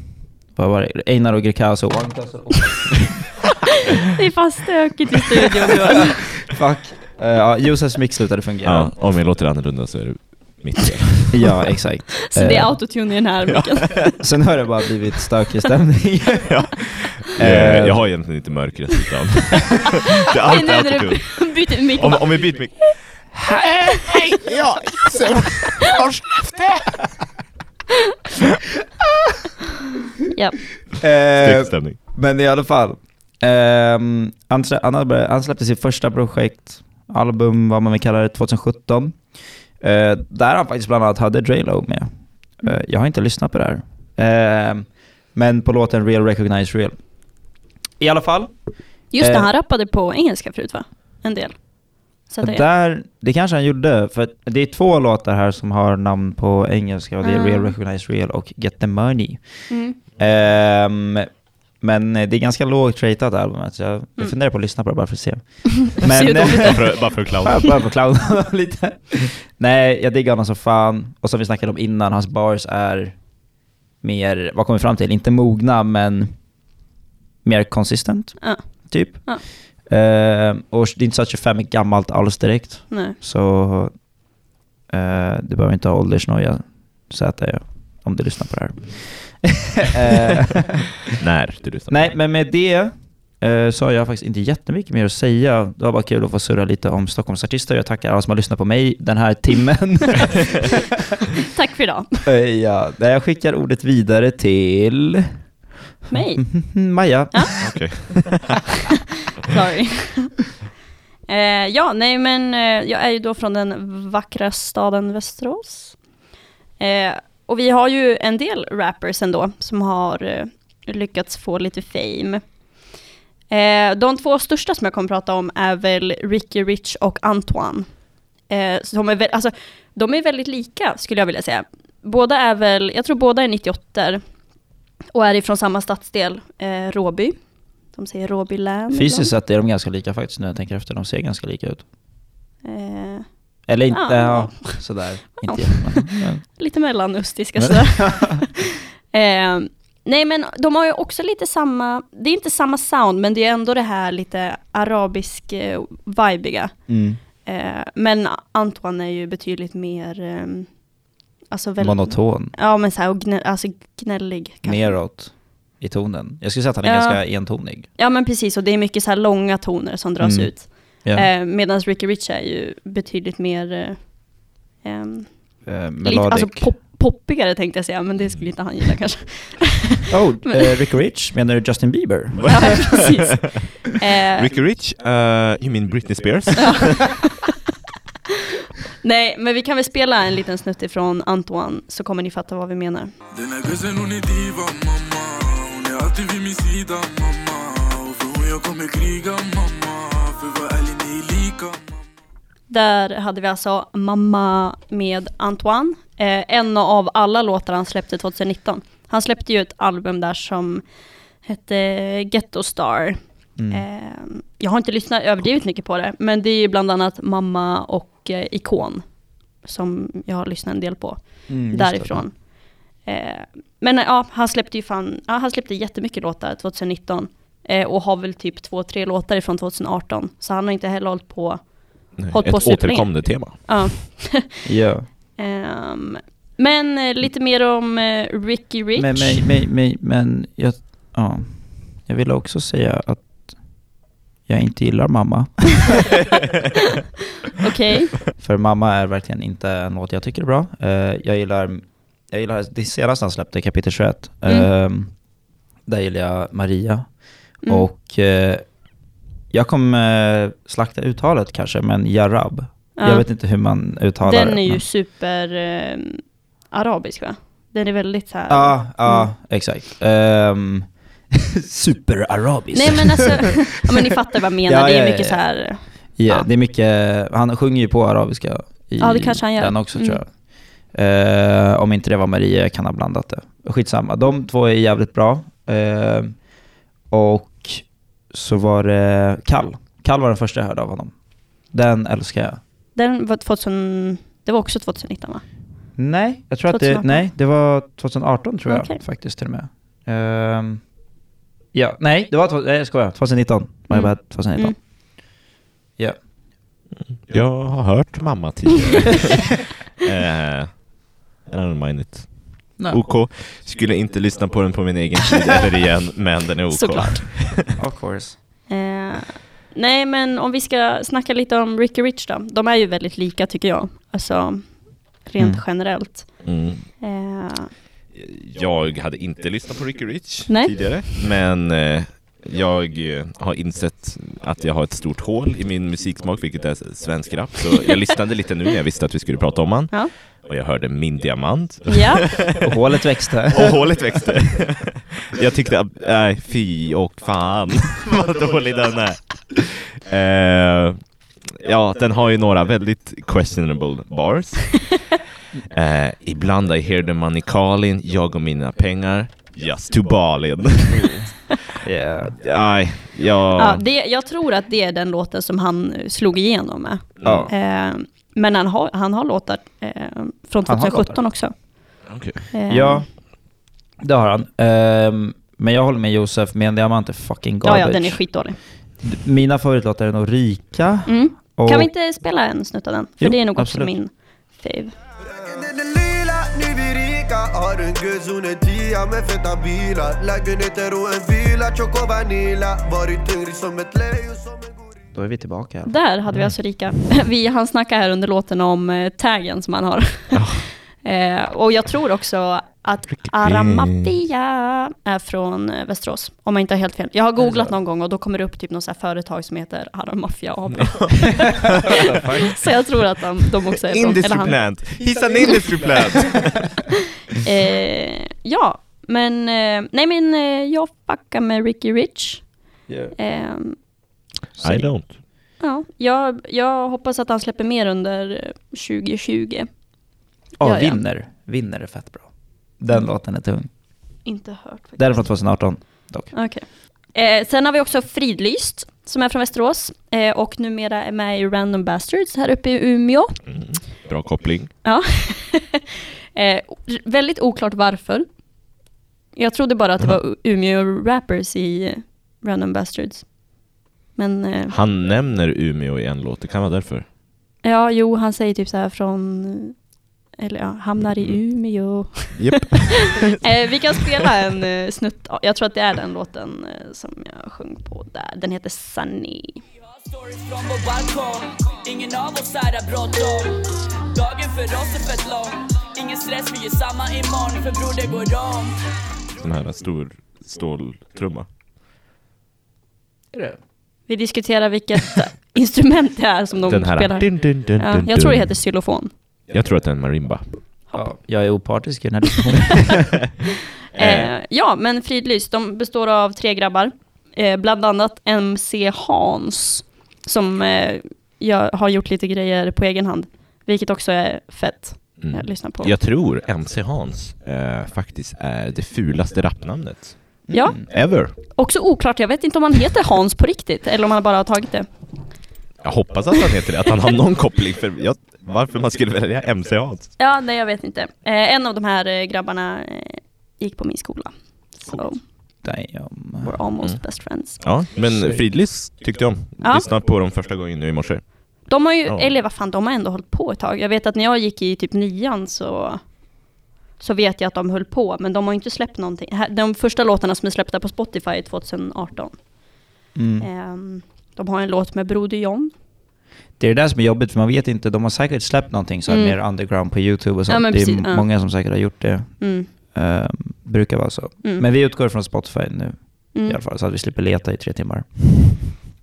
vad var det? Einar och Greekazo. Det är fan stökigt i studion nu. Fuck. Eh, Ja, Josefs mix slutade fungera. om jag låter annorlunda så är det mitt fel. Ja, exakt. Så det Eh, är autotune i den här micken. Sen har det bara blivit stökig stämning. Eh, jag, jag har egentligen inte mörkret utan... det är Nej, alltid nej, när autotune. du byter mick. Om, om vi byter mick... Hej! Ja! Ja. Eh, stämning. Men i alla fall. ehm, han, slä- han, hade, han släppte sitt första projekt, album, vad man vill kalla det, 2017. Eh, där han faktiskt bland annat hade Drelo med. Eh, jag har inte lyssnat på det här. Ehm, men på låten Real Recognize Real. I alla fall. Just det, Eh. han rappade på engelska förut va? En del. Så att det, Där, det kanske han gjorde, för att det är två låtar här som har namn på engelska och det är Ah. Real Recognize Real och Get the Money. mm. Ehm, men det är ganska lågt ratat albumet, så jag, jag Mm. funderar på att lyssna på det bara för att se. Ser det dåligt Bara för, bara för att clowna. Jag börjar på clowna lite. Nej, jag diggar honom som fan. Och som vi snackade om innan, hans bars är mer, vad kommer vi fram till? Inte mogna, men mer konsistent, Ja. typ. Ja. Ehm, och det är inte så att 25 är gammalt alls direkt, Nej. så eh, du behöver inte ha åldersnoja, ZE, om du lyssnar på det här. Ehm, När du lyssnar på Nej, det. men med det eh, så har jag faktiskt inte jättemycket mer att säga. Det var bara kul att få surra lite om Stockholmsartister. Jag tackar alla som har lyssnat på mig den här timmen. Tack för idag. Eh, ja, där jag skickar ordet vidare till Mig. Maja. Ja. Okej. Sorry. eh, ja, nej men eh, jag är ju då från den vackra staden Västerås. Eh, och vi har ju en del rappers ändå som har eh, lyckats få lite fame. Eh, de två största som jag kommer prata om är väl Ricky Rich och Antoine. Eh, som är väl, alltså, de är väldigt lika skulle jag vilja säga. Båda är väl, jag tror båda är 98 och är ifrån samma stadsdel, eh, Råby. De säger Råby län. ibland. Fysiskt sett är de ganska lika faktiskt nu när jag tänker efter. De ser ganska lika ut. Eh, Eller inte, Ja. ja, sådär. Inte jätte- men- men- lite mellanöstiska sådär. eh, nej men de har ju också lite samma, det är inte samma sound men det är ändå det här lite arabisk eh, vibiga. Mm. Eh, men Antoine är ju betydligt mer, eh, alltså väldigt, Monoton, ja men såhär, och gnä, alltså gnällig kanske. neråt i tonen. Jag skulle säga att han är Ja. ganska entonig. Ja men precis och det är mycket så här långa toner som dras Mm. ut. Ja. Eh, Medan Ricky Rich är ju betydligt mer eh, ehm, Eh, lite, melodic. alltså pop, poppigare tänkte jag säga, men det skulle inte han gilla kanske. oh, eh, Rick Rich, menar du Justin Bieber? Ja, precis. Eh, Ricky Rich? Uh, eh, you mean Britney Spears? nej, men vi kan väl spela en liten snutt ifrån Antoine så kommer ni fatta vad vi menar. Den här gussen hon är diva mamma Hon är alltid vid min sida mamma Och för hon jag kommer kriga mamma För vad ärlig ni är lika mamma Där hade vi alltså Mamma med Antoine, eh, en av alla låtar han släppte 2019. Han släppte ju ett album där som hette Ghetto Star. Mm. Eh, jag har inte lyssnat överdrivet mycket på det, men det är ju bland annat Mamma och eh, Ikon som jag har lyssnat en del på. Mm, just det. därifrån. Eh, men ja, han släppte ju fan, ja, han släppte jättemycket låtar 2019 eh, och har väl typ två, tre låtar ifrån 2018. Så han har inte heller hållit på, Nej, hållit ett på superlänge. återkommande tema. Ja. Ja. Ehm, men eh, lite mer om eh, Ricky Rich. Men, men, men, men, men jag, ja. jag ville också säga att jag inte gillar mamma. Okej. För mamma är verkligen inte en låt jag tycker är bra. Eh, jag gillar, jag gillar det senaste han släppte, kapitel 21. Mm. Eh, där gillar jag Maria. Mm. Och eh, jag kommer eh, slakta uttalet kanske, men Jarab. Ja. Jag vet inte hur man uttalar det. Den är ju men- super eh, arabisk va? Den är väldigt så här. Ja, ja, Mm. exakt. Ehm, superarabisk. Nej men alltså, ja, men ni fattar vad jag menar. Ja, det är ja, ja, mycket ja. så här. Ja, det är mycket, han sjunger ju på arabiska i Ja, det kanske han gör. den också Mm. tror jag. Eh, om inte det var Maria kan ha blandat det. Skitsamma, de två är jävligt bra. Eh, och så var det Kall. Kall var den första jag hörde av honom. Den älskar jag. Den var 2000, det var också 2019 va? Nej, jag tror att 2018. det, nej, det var 2018 tror jag Okej. faktiskt till och med. Ehm, ja, nej, det var, tv- nej jag skojar, 2019. My Mm. bad, 2019. Mm. Ja. Jag har hört mamma tidigare. eh, I don't mind it. Nej. OK. Skulle inte lyssna på den på min egen tid eller igen, men den är OK. Såklart. Mm. Of course. Eh, nej men om vi ska snacka lite om Ricky Rich då. De är ju väldigt lika tycker jag. Alltså rent Mm. generellt. Mm. Eh, Jag hade inte lyssnat på Ricky Rich Nej. tidigare, men eh, jag eh, har insett att jag har ett stort hål i min musiksmak, vilket är svensk rap. Så jag lyssnade lite nu när jag visste att vi skulle prata om han. Ja. Och jag hörde Min Diamant. Ja. Och hålet växte. Och hålet växte. Jag tyckte, att- nej fy och fan vad dålig den är. Eh, ja, den har ju några väldigt questionable bars. Eh, ibland I hear the money calling, jag och mina pengar, just to Balin. Yeah. Nej, Ja, jag... det, jag tror att det är den låten som han eh, slog igenom med. Ja. Eh, men han har, han har låtar eh, från Han har 2017 också. Okej. Eh, Ja, det har han. Ehm, men jag håller med Josef, men diamant är fucking ja, garbage. ja, den är skitdålig. D- Mina favoritlåtar är nog Rika. Mm. Och, Kan vi inte spela en snutt av den? För Jo, det är nog absolut. också min fave. Lägenheten lila, nu vi rika Har en guldzon, en tia med feta bilar Lägenheter och en villa, choco vanilla Varit hungrig som ett lejon som en Då är vi tillbaka. här. Där hade vi alltså Rika. Vi han snacka här under låten om eh, taggen som han har. eh, och jag tror också att Aramatia är från eh, Västerås. Om jag inte har helt fel. Jag har googlat någon gång och då kommer det upp typ något så här företag som heter Aramafia AB. så jag tror att de, de också är från... Industry han. plant! He's an industry plant! Eh, ja, men... Eh, nej men eh, jag fuckar med Ricky Rich. Eh, I don't. Ja, jag, jag hoppas att han släpper mer under eh, 2020. Ja, Ja, ja. Mm. Vinner. Vinner är fett bra. Den låten är tung. Inte hört faktiskt. Den är från 2018. Okej. Eh, sen har vi också Fridlyst, som är från Västerås eh, och numera är med i Random Bastards här uppe i Umeå. Mm. Bra koppling. Ja. eh, r- väldigt oklart varför. Jag trodde bara att det var U- Umeå Rappers i Random Bastards. Men eh, Han nämner Umeå i en låt, det kan vara därför. ja, jo, han säger typ så här från... Eller ja, hamnar i Umeå. Japp. Eh, vi kan spela en eh, snutt. Jag tror att det är den låten eh, som jag sjöng på där. Den heter Sunny. Stories från vår balkong Ingen av oss här har bråttom Dagen för oss är fett lång Ingen stress, vi gör samma imorgon För bror det går om Sån här stor ståltrumma. Vi diskuterar vilket instrument det är som de Den här. spelar. Dun, dun, dun, ja, dun, jag tror det dun. heter xylofon. Jag tror att det är en marimba. Ja, jag är opartisk i den här diskussionen. Eh. ja, men Fridlys, de består av tre grabbar. Eh, bland annat MC Hans, som eh, jag har gjort lite grejer på egen hand. Vilket också är fett. Mm. Jag lyssnar på. Jag tror MC Hans eh, faktiskt är det fulaste rapnamnet. Ja, Ever. Mm, också oklart. Jag vet inte om han heter Hans på riktigt, eller om han bara har tagit det. Jag hoppas att han heter det, att han har någon koppling för jag, varför man skulle välja MCA. Ja, nej jag vet inte. Eh, en av de här eh, grabbarna eh, gick på min skola. Så Damn. we're almost Mm. best friends. Ja, men Fridlys tyckte jag om. Ja. Lyssnade på dem första gången nu i morse. De har ju, Ja. eller vad fan, de har ändå hållit på ett tag. Jag vet att när jag gick i typ nian så, så vet jag att de höll på, men de har ju inte släppt någonting. Här- De första låtarna som är släppta på Spotify är 2018. Mm. Ehm, de har en låt med Broder John. Det är det där som är jobbigt för man vet inte, de har säkert släppt någonting så här Mm. mer underground på YouTube och sånt. Ja, men det är precis, m- ja. många som säkert har gjort det. Mm. Ehm, brukar vara så. Mm. Men vi utgår från Spotify nu Mm. i alla fall så att vi slipper leta i tre timmar.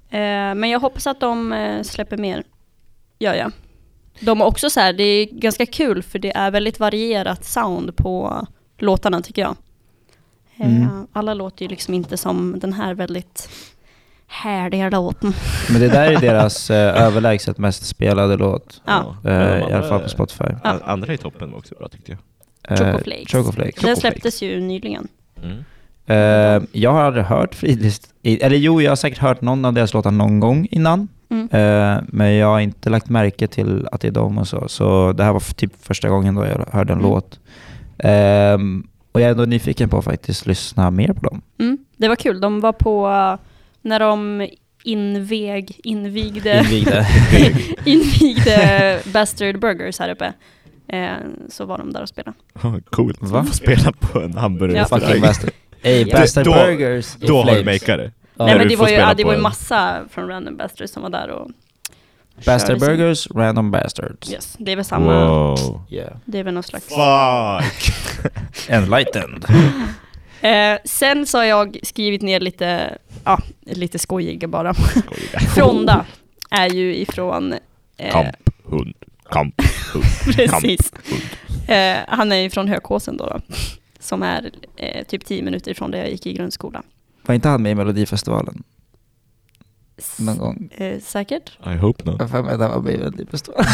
Eh, men jag hoppas att de eh, släpper mer. Gör jag. De har också så här, det är ganska kul för det är väldigt varierat sound på låtarna tycker jag. Eh, Mm. Alla låter ju liksom inte som den här väldigt härliga låten. Men det där är deras eh, överlägset mest spelade låt. Ja. Eh, Men de I alla fall andra- på Spotify. an- Andra i toppen var också bra tyckte jag. Eh, Chocoflakes. Chocoflakes. Den släpptes ju nyligen. Mm. Eh, jag har aldrig hört Fridlyst, i- eller jo jag har säkert hört någon av deras låtar någon gång innan. Mm. Eh, men jag har inte lagt märke till att det är dem och så. Så det här var f- typ första gången då jag hörde en Mm. låt. Ehm, och jag är ändå nyfiken på att faktiskt lyssna mer på dem. Mm. Det var kul, de var på eh, när de invig, invigde, Invigde. invigde Bastard Burgers här uppe. Eh, så var de där och spelade. Oh, coolt. Va? Spela på en hamburgare. Ja. Fucking bastard. Ey, Ja. bastard Då- burgers i Då har du flames. makeare. Nej När men du det får var ju, spela ja, det på var ju en- massa från Random Bastards som var där och Bastard körde sin- burgers, random bastards. Yes, det är väl samma. Wow. Yeah. Det är väl någon slags... Fuck! Enlightened. Eh, sen så har jag skrivit ner lite, ja, lite skojiga bara. Fronda är ju ifrån... eh, Kamp, hund, kamp, hund, Precis. kamp, hund. Eh, han är ju från Hökåsen då, då som är eh, typ 10 minuter ifrån där jag gick i grundskolan. Var inte han med i Melodifestivalen? Någon gång? Eh, säkert? I hope not. Jag har för mig att han var med i Melodifestivalen.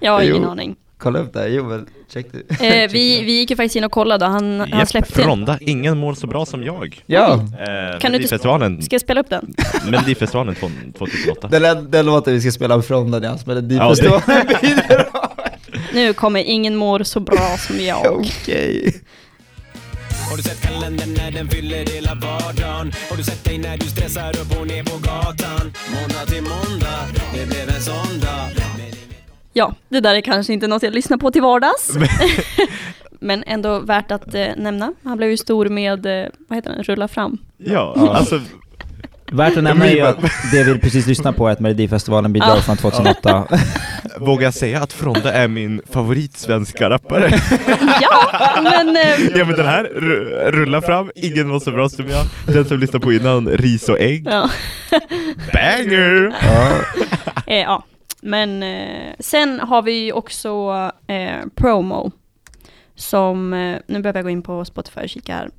Jag har ingen Jo. aning. Kolla upp det här, jo men check det. Eh, vi, vi gick ju faktiskt in och kollade och han, han Japp, släppte en. Ronda, ingen mår så bra som jag. Ja, Eh, Kan du inte- Melodifestivalen, Ska jag spela upp den? Melodifestivalen från 2008. den, lä- den låten vi ska spela från den i hans Ja, det- Melodifestivalen vidare. Nu kommer Ingen mår så bra som jag. Okej. Har du sett kalendern när den fyller hela vardagen? Har du sett dig när du stressar upp och ner på gatan? Måndag till måndag, det blev en sån dag. Ja, det där är kanske inte något jag lyssnar på till vardags. Men ändå värt att eh, nämna. Han blev ju stor med, eh, vad heter den, Rulla fram. Ja, Ja. alltså Värt att nämna är ju att det vi precis lyssnade på är ett Melodifestivalen bidrag Ja. från 2008. vågar jag säga att Fronda är min favorit svenska rappare? Ja, men eh, Ja men den här, ru- rulla fram, ingen var så bra som jag. Den som lyssnade på innan, ris och ägg. ja. Banger! Ja. Eh, ja. Men eh, sen har vi ju också eh, promo. Som, eh, nu behöver jag gå in på Spotify och kika här.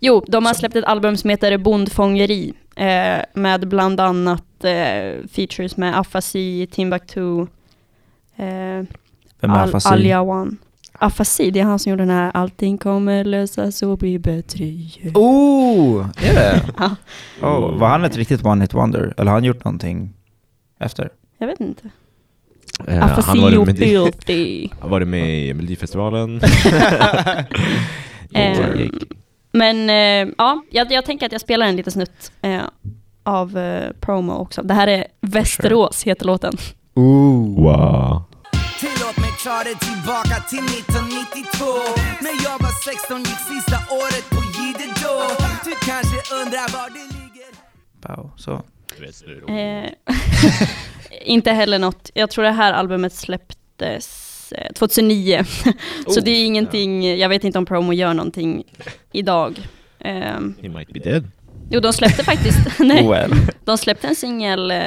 Jo, de har släppt ett album som heter Bondfångeri. Eh, med bland annat eh, features med Afasi, Timbuktu, eh, Vem är Al- Afasi? Aljawan. Afasi, det är han som gjorde den här Allting kommer lösas och bli bättre igen. Oh, är det? Ja. Oh, var han ett riktigt one hit wonder? Eller har han gjort någonting efter? Jag vet inte. Eh, Afasi var och med i- filthy. han var med i Melodifestivalen. Eh. Ehm, men eh, ja, jag, jag tänker att jag spelar en liten snutt eh, av eh, promo också. Det här är Västerås, heter låten. Ooh. Wow. Tillåt mig ta dig tillbaka till 1992 När jag var 16 gick sista året på Jihde då Du kanske undrar var det ligger Wow, så. Eh, inte heller något, jag tror det här albumet släpptes eh, 2009. Så Oh, det är ingenting, jag vet inte om promo gör någonting idag. Ehm, He might be dead. jo, de släppte faktiskt, Oh, nej, Well. de släppte en singel eh,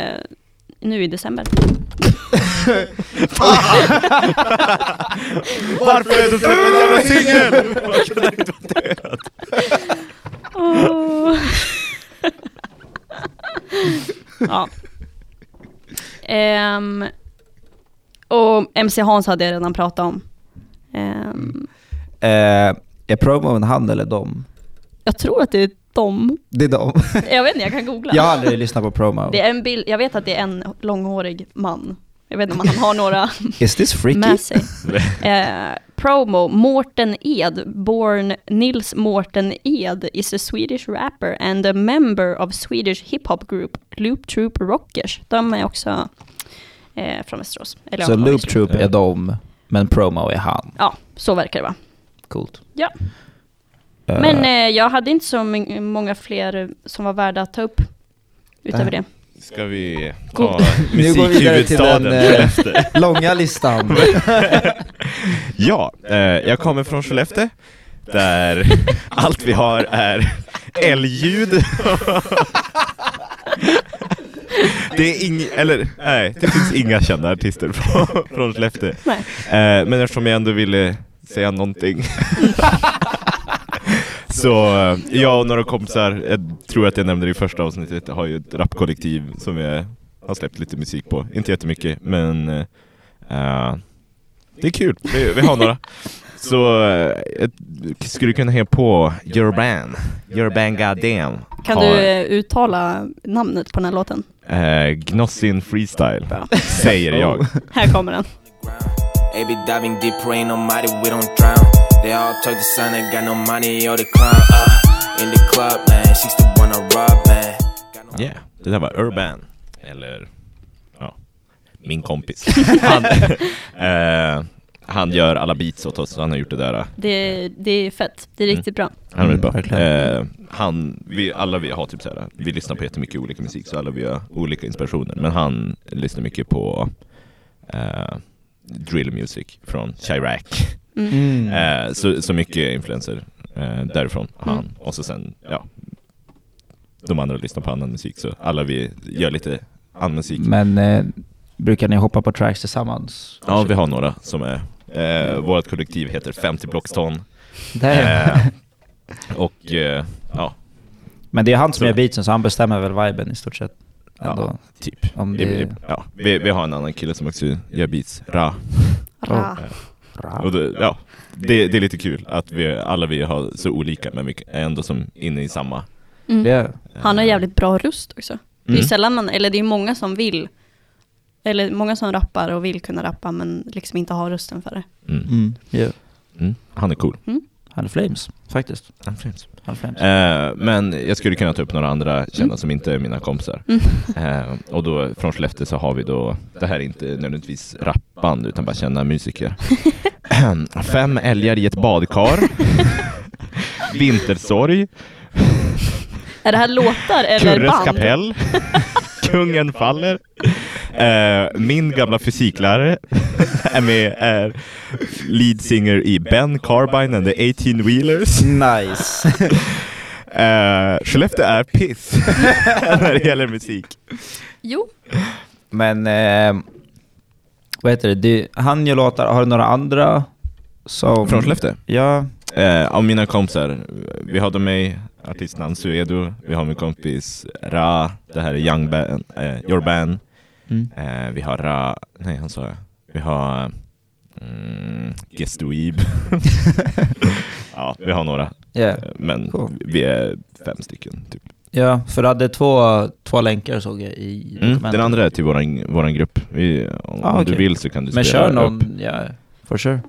nu i december. Varför är du släppt en jävla singel? Varför kunde han inte vara död? Åh. ja. Ehm, och MC Hans hade jag redan pratat om. Ehm, Mm. Eh, är promon han eller dem? jag tror att det är dem. Det är dem. Jag vet inte, jag kan googla. Jag har aldrig lyssnat på promo. Det är en bild, jag vet att det är en långhårig man. Jag vet inte om han har några Is this freaky? med sig. Eh, promo, Morten Ed, born Nils Morten Ed is a Swedish rapper and a member of Swedish hiphop group Loop Troop Rockers. De är också eh, från Västerås. Eller Så ja, Loop Troop är de, men promo är han. Ja, så verkar det vara. Coolt. Ja. Eh, Men eh, jag hade inte så m- många fler som var värda att ta upp utöver det. Ska vi Cool. ta nu går vi vidare till den musikhuvudstaden eh, Skellefteå? långa listan. Ja, eh, jag kommer från Skellefteå där allt vi har är älgljud. Det är ing, eller nej, det finns inga kända artister från, från Skellefteå. Nej. Eh, men eftersom jag ändå ville säga någonting så eh, jag och några kompisar, jag tror att jag nämnde det i första avsnittet, har ju ett rapkollektiv som jag har släppt lite musik på. Inte jättemycket, men eh, eh, det är kul. Vi, vi har några. Så eh, jag skulle kunna hänga på Your Band, Your Band Goddamn. Kan har- du eh, uttala namnet på den här låten? Eh, Gnossin Freestyle, säger jag. Här kommer den. They be diving deep, ain't nobody, we don't drown. They all talk the sun, they got no money or the clown. Uh, in the club, man, she's the one I rob, man. Yeah, det där var Urban. Eller, ja, min kompis. Han, eh, han gör alla beats åt oss, han har gjort det där. eh, Det, det är fett, det är Mm. riktigt bra. Han är väldigt bra. Eh, han, vi, alla vi har typ så här, vi lyssnar på jättemycket olika musik, så alla vi har olika inspirationer. Men han lyssnar mycket på eh, drill music från Chirac. Mm. Eh, så, så mycket influenser eh, därifrån. Han. Och så sen, ja, de andra lyssnar på annan musik, så alla vi gör lite annan musik. Men eh, brukar ni hoppa på tracks tillsammans? Ja, vi har några som är... Eh, vårt kollektiv heter 50 Blockston. Där. Eh, och eh, ja, Men det är han som gör beatsen, så han bestämmer väl viben i stort sett? Ändå. typ. Om vi, det... vi- ja, vi, vi har en annan kille som också gör beats, Ra. Ra. Ja. Och det, ja, det, det är lite kul att vi, alla vi har så olika, men vi är ändå som inne i samma. Mm. Det- Han har Eh. jävligt bra röst också. Det är ju Mm. sällan man, eller det är många som vill, eller många som rappar och vill kunna rappa men liksom inte har rösten för det. Mm. yeah. Mm, han är cool. Mm. Han är flames, faktiskt. Han är flames. Han är flames. Eh, men jag skulle kunna ta upp några andra kända som inte är mina kompisar. Mm. Eh, och då från Skellefteå så har vi då, det här är inte nödvändigtvis rappband utan bara kända musiker. Fem älgar i ett badkar. Vintersorg. Är det här låtar eller Kurres band? kapell. Kungen faller. Eh, min gamla fysiklärare är med, är lead singer i Ben Carbine and the 18-wheelers. Nice. Eh, Skellefteå är piss när det gäller musik. Jo. Men, eh, vad heter det? Du, han gör låtar, har du några andra som... Från Skellefteå? Ja. Eh, av mina kompisar, vi hade mig artistnamn Suedo, vi har min kompis Ra, det här är Young Ban, eh, Your Ban. Mm. Eh, vi har Ra, nej han sa jag. Vi har mm, Guess the Weeb. ja, vi har några. Yeah. Eh, Men Cool. vi är fem stycken. Typ. Ja, för du hade två, två länkar såg jag i Mm, dokumentet. den andra är till våran, våran grupp. Vi, om Ah, om okej. du vill så kan du Men spela kör någon, upp. ja, for sure. Why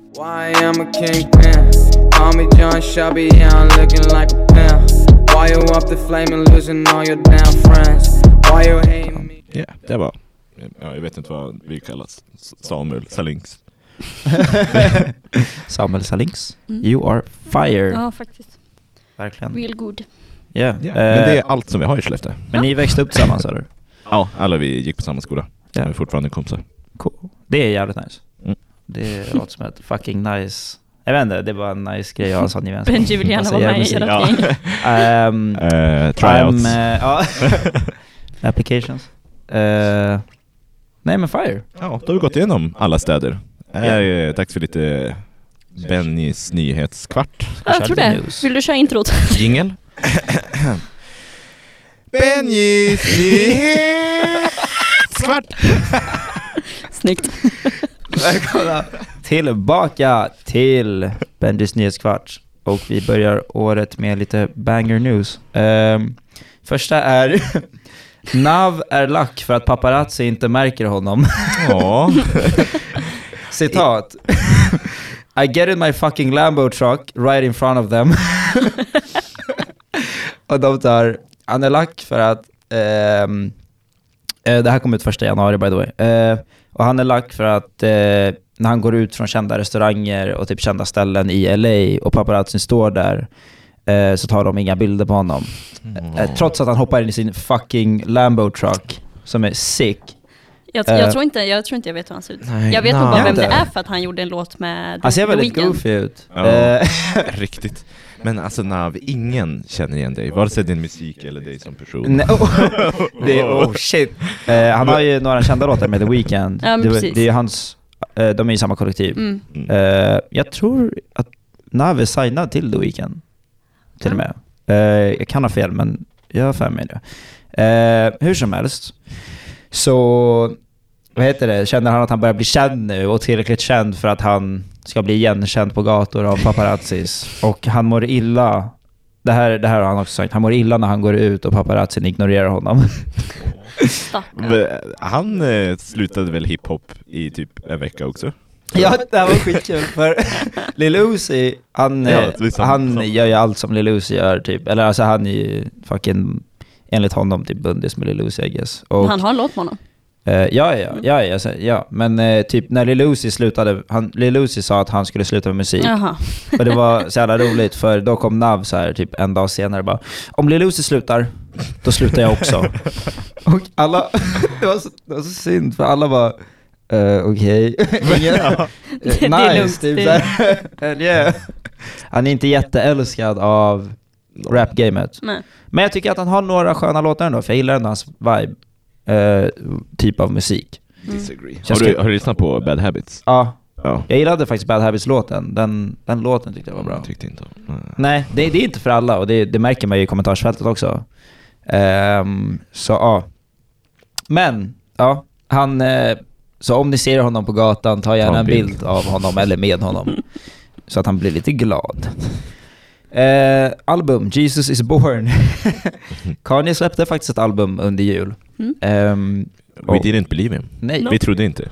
I'm a kingpin. Call me John Shelby, yeah, I'm looking like a pimp. Why you up the flame and losing all your damn friends? Why you hate me? Ja, det var. Ja, jag vet inte vad vi kallas. S- Samuel Salings. Samuel Salinks, Mm. you are fire. Ja, faktiskt. Verkligen. Real good. Yeah. Ja, men det är Eh, allt som vi har i Skellefteå. Men ni växte upp tillsammans eller? Ja, alla vi gick på samma skola. Vi är fortfarande kompisar. Det är jävligt nice. Mm. Det låter som ett fucking nice... Jag vet inte, det var en nice grej att ha en sån gemenskap. Benji vill gärna Alltså, vara gör med i musik. ert Ja. gäng. Ehm, Eh, tryouts. I'm, eh, ja. Applications. Eh, nej men fire. Ja, då har vi gått igenom alla städer. Det är ju dags för lite Bennys nyhetskvart. Ja, jag tror det. Vill du köra introt? Jingel. Benjis nyhetskvart. Snyggt. Välkomna tillbaka till Bendys nyhetskvart. och vi börjar året med lite banger news. Ehm, första är Nav är lack för att paparazzi inte märker honom. Ja. Citat. I get in my fucking Lambo truck right in front of them. Och de tar, han är lack för att, ehm, eh, det här kom ut första januari by the way. Eh, och han är lack för att eh, när han går ut från kända restauranger och typ kända ställen i LA och paparazzin står där eh, så tar de inga bilder på honom. Eh, trots att han hoppar in i sin fucking Lambo truck som är sick. Jag, Eh, jag, tror inte, jag tror inte jag vet hur han ser ut. Nej, jag vet nog nej. bara vem det Inte. är för att han gjorde en låt med Han The ser Alltså, väldigt Weeknd. goofy ut. Eh, Ja, riktigt. Men alltså Nav, ingen känner igen dig, vare sig din musik eller dig som person. Nej, oh, det, oh shit. Eh, han har ju några kända låtar med The Weeknd. Ja, men det, var- precis. det är ju hans, eh, de är i samma kollektiv. Mm. Eh, jag tror att Nav är signad till The Weeknd. Till och med. Eh, jag kan ha fel, men jag har för mig det. Eh, hur som helst. Så, vad heter det, känner han att han börjar bli känd nu och tillräckligt känd för att han ska bli igenkänd på gator av paparazzis. Och han mår illa. Det här, det här har han också sagt. Han mår illa när han går ut och paparazzin ignorerar honom. Men Han eh, slutade väl hiphop i typ en vecka också? Mm. Ja, det här var skitkul för Lil Uzi, han, Ja, eh, det är sant, han gör ju allt som Lil Uzi gör typ. Eller alltså han är ju fucking, enligt honom, typ bundis med Lil Uzi I guess. Och, Han har en låt med honom. eh, ja, ja, ja, ja, så- ja. Men eh, typ när Lil Uzi slutade, han, Lil Uzi sa att han skulle sluta med musik. Jaha. Och det var så jävla roligt för då kom Nav så här typ en dag senare och bara Om Lil Uzi slutar, då slutar jag också. och alla, det var, så, det var så synd för alla bara eh, okej, Ingen- Ja. eh, Det- det är nice, lugnt, typ det- så här. Hell yeah. Han är inte jätteälskad av rap-gamet. Nej. Men jag tycker att han har några sköna låtar ändå, för jag gillar ändå hans vibe, eh, typ av musik. Disagree. Så Har jag du, ska- har du lyssnat på Bad Habits? Ja. Ja. Jag gillade faktiskt Bad Habits-låten. Den, den låten tyckte jag var bra. Mm. Tyckte inte om. Nej, det, det är inte för alla och det, det märker man ju i kommentarsfältet också. Ehm, så ja. Men, ja. Han, eh, så om ni ser honom på gatan, ta gärna en en bild. bild. av honom eller med honom. så att han blir lite glad. Eh, album, Jesus is born. Kanye släppte faktiskt ett album under jul. Mm. Ehm, We och- didn't believe him. Nej. Vi trodde inte.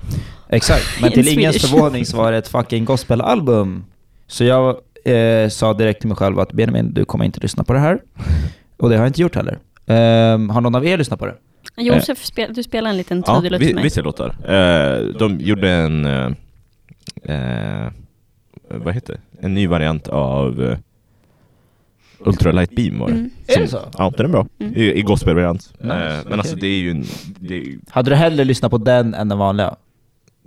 Exakt, men In till ingens Swedish. förvåning så var det ett fucking gospelalbum. Så jag eh, sa direkt till mig själv att Benjamin, du kommer inte lyssna på det här. Och det har jag inte gjort heller. Ehm, har någon av er lyssnat på det? Eh. Josef, spel, du spelar en liten trudelutt ja, till vi, mig. vissa låtar. Eh, de gjorde en... eh, eh, vad heter det? En ny variant av eh, Ultralight Beam var det. Mm. Är det så? Ja, den är bra. Mm. I, i gospelvariant. Eh, Nice, men okej. alltså det är ju... en- Det är, ju- Hade du hellre lyssnat på den än den vanliga?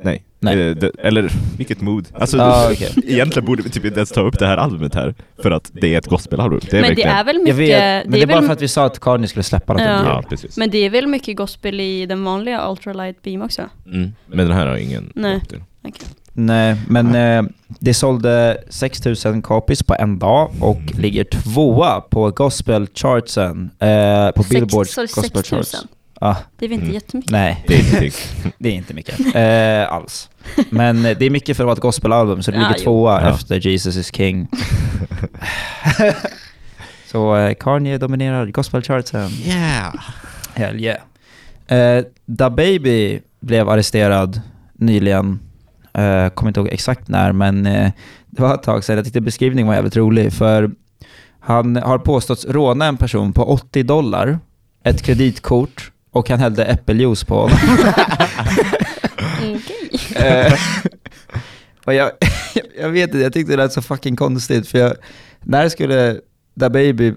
nej. Eh, det, eller vilket mood. Alltså, Ah, okej. Egentligen borde vi typ inte ens ta upp det här albumet här. För att det är ett gospelalbum. Det Men är det verkligen... är väl mycket... Jag vet, men det, är är bara väl- för att vi sa att Kanye skulle släppa något under ja. jul. Men det är väl mycket gospel i den vanliga Ultralight Beam också? Mm. Men den här har ingen... Nej. Nej, men eh, det sålde 6000 copies på en dag och ligger tvåa på gospelchartsen. Eh, på Sex- Billboard sorry, gospel 6 000. charts. Ja. Det är väl inte Mm. jättemycket? Nej. Det är ingenting. det är inte mycket. Eh, alls. Men eh, det är mycket för att vara ett gospelalbum, så det Ja, ligger jo. tvåa Ja. efter Jesus is king. så eh, Kanye dominerar gospelchartsen. Yeah. Hell yeah. Eh, da Baby blev arresterad nyligen. Eh, kommer inte ihåg exakt när, men eh, det var ett tag sedan. Jag tyckte beskrivningen var jävligt rolig, för han har påståtts råna en person på 80 dollar, ett kreditkort och han hällde äppeljuice på honom. Mm. Eh, och jag, jag vet inte, jag tyckte det lät så fucking konstigt för jag, när skulle Da Baby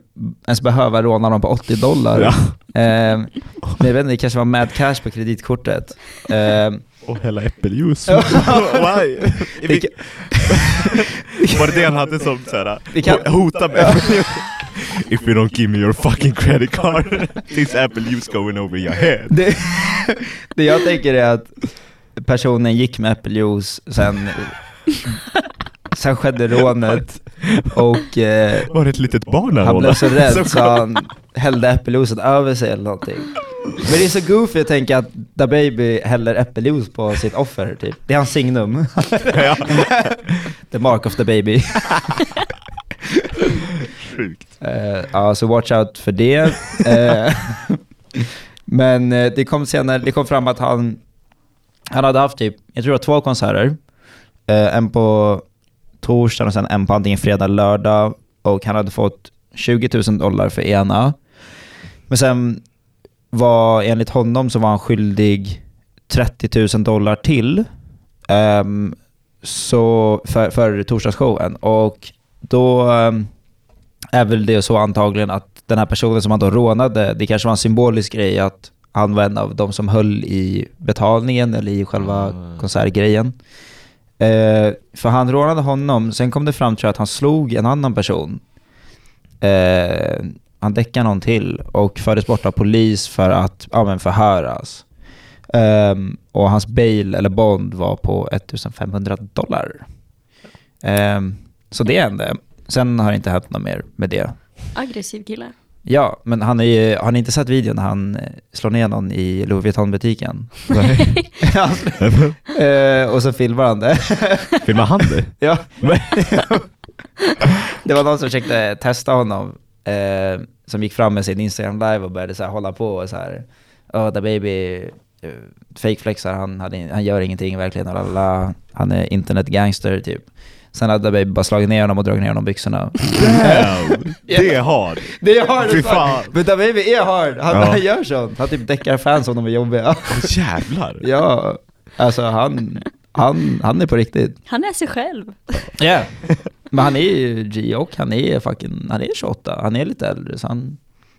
ens behöva råna dem på 80 dollar? Ja. Eh, men jag vet inte, det kanske var mad cash på kreditkortet. Eh, Och hälla äppeljuice. Ja. Why? I vilk- Var det det han hade som såhär, Vi kan- hota med? If you don't give me your fucking credit card, this apple juice going over your head. det, det jag tänker är att personen gick med äppeljuice, sen, sen skedde rånet och... Eh, Var det ett litet barn han rånade? blev så Som rädd så kom- han hällde äppeljuicet över sig eller någonting. Men det är så goofy att tänka att Da Baby häller äppeljuice på sitt offer typ. Det är hans signum. the mark of the baby. sjukt. Eh, ja, så watch out för det. Eh, men eh, det kom senare, det kom fram att han, han hade haft typ, jag tror det var två konserter. Eh, en på torsdagen och sen en på antingen fredag, lördag. Och han hade fått 20 000 dollar för ena. Men sen var, enligt honom så var han skyldig 30 000 dollar till. ehm, så för, för torsdagsshowen. Och då ehm, är väl det så antagligen att den här personen som han då rånade, det kanske var en symbolisk grej att han var en av de som höll i betalningen eller i själva konsertgrejen. Eh, för han rånade honom, sen kom det fram tror jag att han slog en annan person. Eh, han däckade någon till och fördes bort av polis för att ja, men förhöras. Ehm, och hans bail eller bond var på 1500 dollar. Ehm, så det hände. Sen har det inte hänt något mer med det. Aggressiv kille. Ja, men han är ju, har ni inte sett videon när han eh, slår ner någon i Louis Vuitton-butiken? Alltså, eh, och så filmar han det. Filmar han det? ja. det var någon som försökte testa honom, eh, som gick fram med sin Instagram live och började så här hålla på och så här, oh, the baby eh, fake-flexar, han, hade in- han gör ingenting i verkligheten, lalala. han är internetgangster typ. Sen hade Baby bara slagit ner honom och dragit ner honom i byxorna. Damn, det är hard. Det är hard Fy as fan. fuck. Men Da Baby är hard. Han, Ja. han gör sånt. Han typ däckar fans om de är jobbiga. Jävlar. ja, alltså han, han, han är på riktigt. Han är sig själv. Yeah. Men han är ju G och han är fucking, han är 28. Han är lite äldre så han,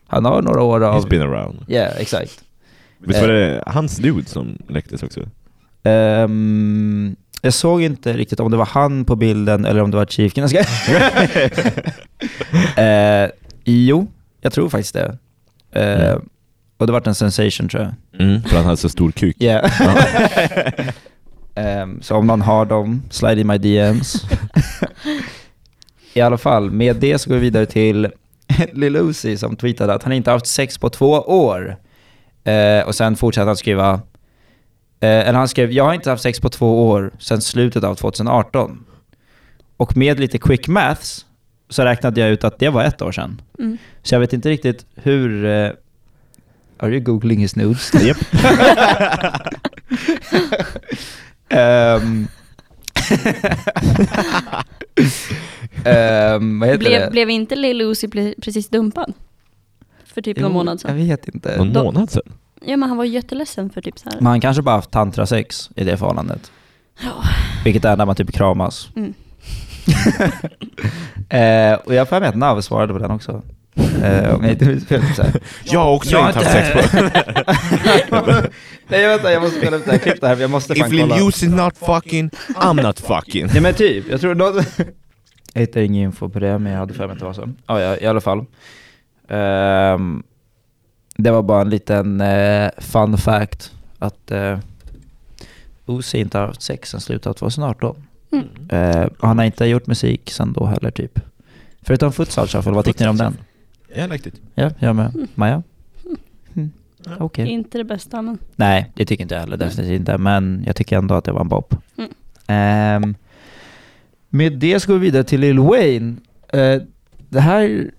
han har några år av... He's been around. Yeah, exakt. Visst var det hans dude som läcktes också? Ehm, jag såg inte riktigt om det var han på bilden eller om det var Chief Keef. Jag ska- Eh, Jo, jag tror faktiskt det. Eh, Och det vart en sensation tror jag. Mm, för han hade så stor kuk. Yeah. Ja. Ehm, så om någon har dem, slide in my DMs. I alla fall, med det så går vi vidare till Lil Uzi som tweetade att han inte haft sex på två år. Eh, och sen fortsatte han skriva, eh, eller han skrev, jag har inte haft sex på två år sedan slutet av 2018. Och med lite quick maths så räknade jag ut att det var ett år sedan. Mm. Så jag vet inte riktigt hur... eh, are you googling his nudes? Japp. Ehm. Ehm, vad heter det? Blev, blev inte Lil Uzi ple- precis dumpad? För typ någon Jo, månad sedan. Jag vet inte. Någon Då- månad sedan? Ja men han var ju jätteledsen för typ så här. Men han kanske bara haft tantrasex i det förhållandet. Ja. Vilket är när man typ kramas. Mm. Eh, och jag har för mig att Nav svarade på den också. Eh, om jag inte minns fel. så här. Jag har också inte haft sex på Nej vänta, jag måste kolla upp det här klippet här. för Jag måste fan If Lil kolla. Uzi not fucking, I'm not fucking. Nej men typ, jag tror någon... Jag hittar ingen info på det, men jag hade för mig att det var så. Ja, ja, i alla fall. Ehm, det var bara en liten eh, fun fact att uh, Uzi inte har haft sex sedan slutet av 2018. Mm. Eh, och han har inte gjort musik sedan då heller typ. Förutom Futsal Shuffle, vad tyckte ni om den? Yeah, I liked it. Ja, jag med. Maja? Mm. Okej. Inte det bästa men. Nej, det tycker inte jag heller. Definitivt inte. Men jag tycker ändå att det var en bop. Mm. Ehm, med det så går vi vidare till Lil Wayne. Eh, det här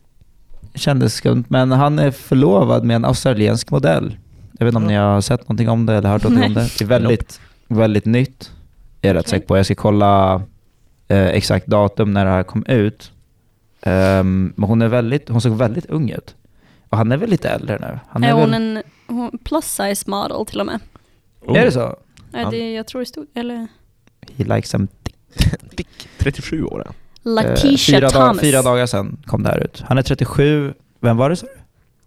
kändes skumt, men han är förlovad med en australiensk modell. Jag vet inte om ni har sett någonting om det eller hört någonting om Nej. det. Det är väldigt, väldigt nytt. Jag är rätt säker på. Jag ska kolla eh, exakt datum när det här kom ut. Ehm, men hon, är väldigt, hon såg väldigt ung ut. Och han är väl lite äldre nu? Han är, väl, hon en hon, plus size model till och med? Är det så? Nej, det, jag tror det stod, Eh, eller? He likes them 37 Oh, år ja. Latisha Eh, fyra, dag- Thomas. fyra dagar sedan kom det här ut. Han är 37, vem var det sa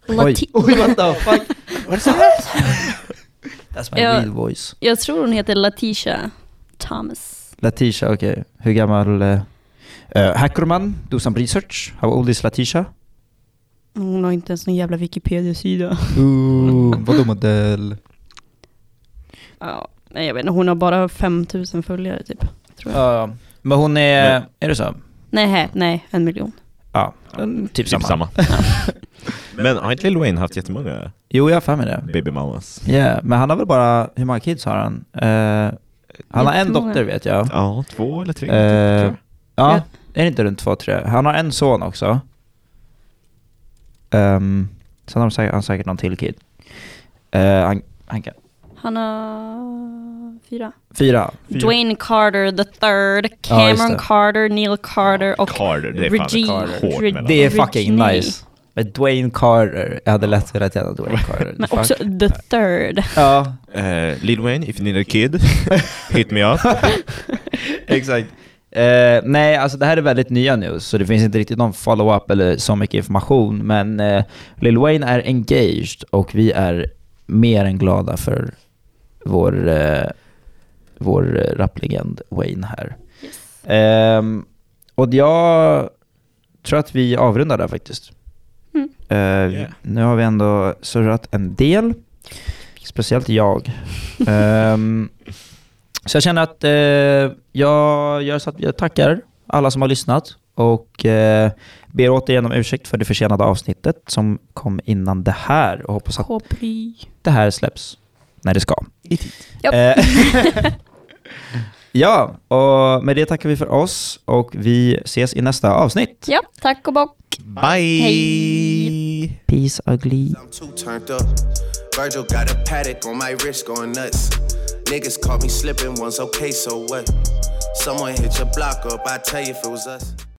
du? Lati- Oj, oj, what the fuck? Vad sa du? That's my Ja. real voice. Jag tror hon heter Latisha Thomas. Latisha, okej. Hur gammal? eh, eh, Hackerman, do some research. How old is Latisha? Hon har inte ens någon jävla Wikipedia-sida. Ooh, vadå modell? Ja, nej jag vet inte, hon har bara 5000 följare typ. Tror jag. Ja, men hon är... Är det så? Nej, hej, nej, en miljon. Ja, en- typ, samma. Men har inte Lil Wayne haft jättemånga Jo, jag har för mig det. baby mamas? Ja, men han har väl bara... Hur många kids har han? Eh, han har en Jättemånga. dotter vet jag. Ja, två eller tre. Eh, tror jag. ja, är det inte runt två, tre? Han har en son också. Ehm, sen har de säkert, han säkert någon till kid. Eh, han, han kan, Han har fyra. fyra. Dwayne Carter the third, Ja, just Cameron det. Carter, Neil Carter och Carter, det är fan Regine. Carter. Hårt Reg- mellan. Det är Regine. fucking nice. Men Dwayne Carter, jag hade lätt velat heta Dwayne Carter. Men också Fuck. the third. Ja, Eh, Lil Wayne, if you need a kid, hit me up. Exakt. Eh, nej, alltså det här är väldigt nya nu, så det finns inte riktigt någon follow-up eller så mycket information. Men eh, Lil Wayne är engaged och vi är mer än glada för vår, eh, vår eh, rapplegend Wayne här. Ehm, och jag tror att vi avrundar där faktiskt. Eh, Nu har vi ändå surrat en del, speciellt jag. Ehm, så jag känner att eh, jag gör så att jag tackar alla som har lyssnat och eh, ber återigen om ursäkt för det försenade avsnittet som kom innan det här och hoppas att det här släpps när det ska. I tid. Eh, ja, och med det tackar vi för oss och vi ses i nästa avsnitt. Ja, tack och bock. Bye. Hej. Peace ugly. I'm too turned up. Virgil got a paddock on my wrist going nuts. Niggas caught me slipping once, okay, so what? Someone hit your block up, I tell you if it was us.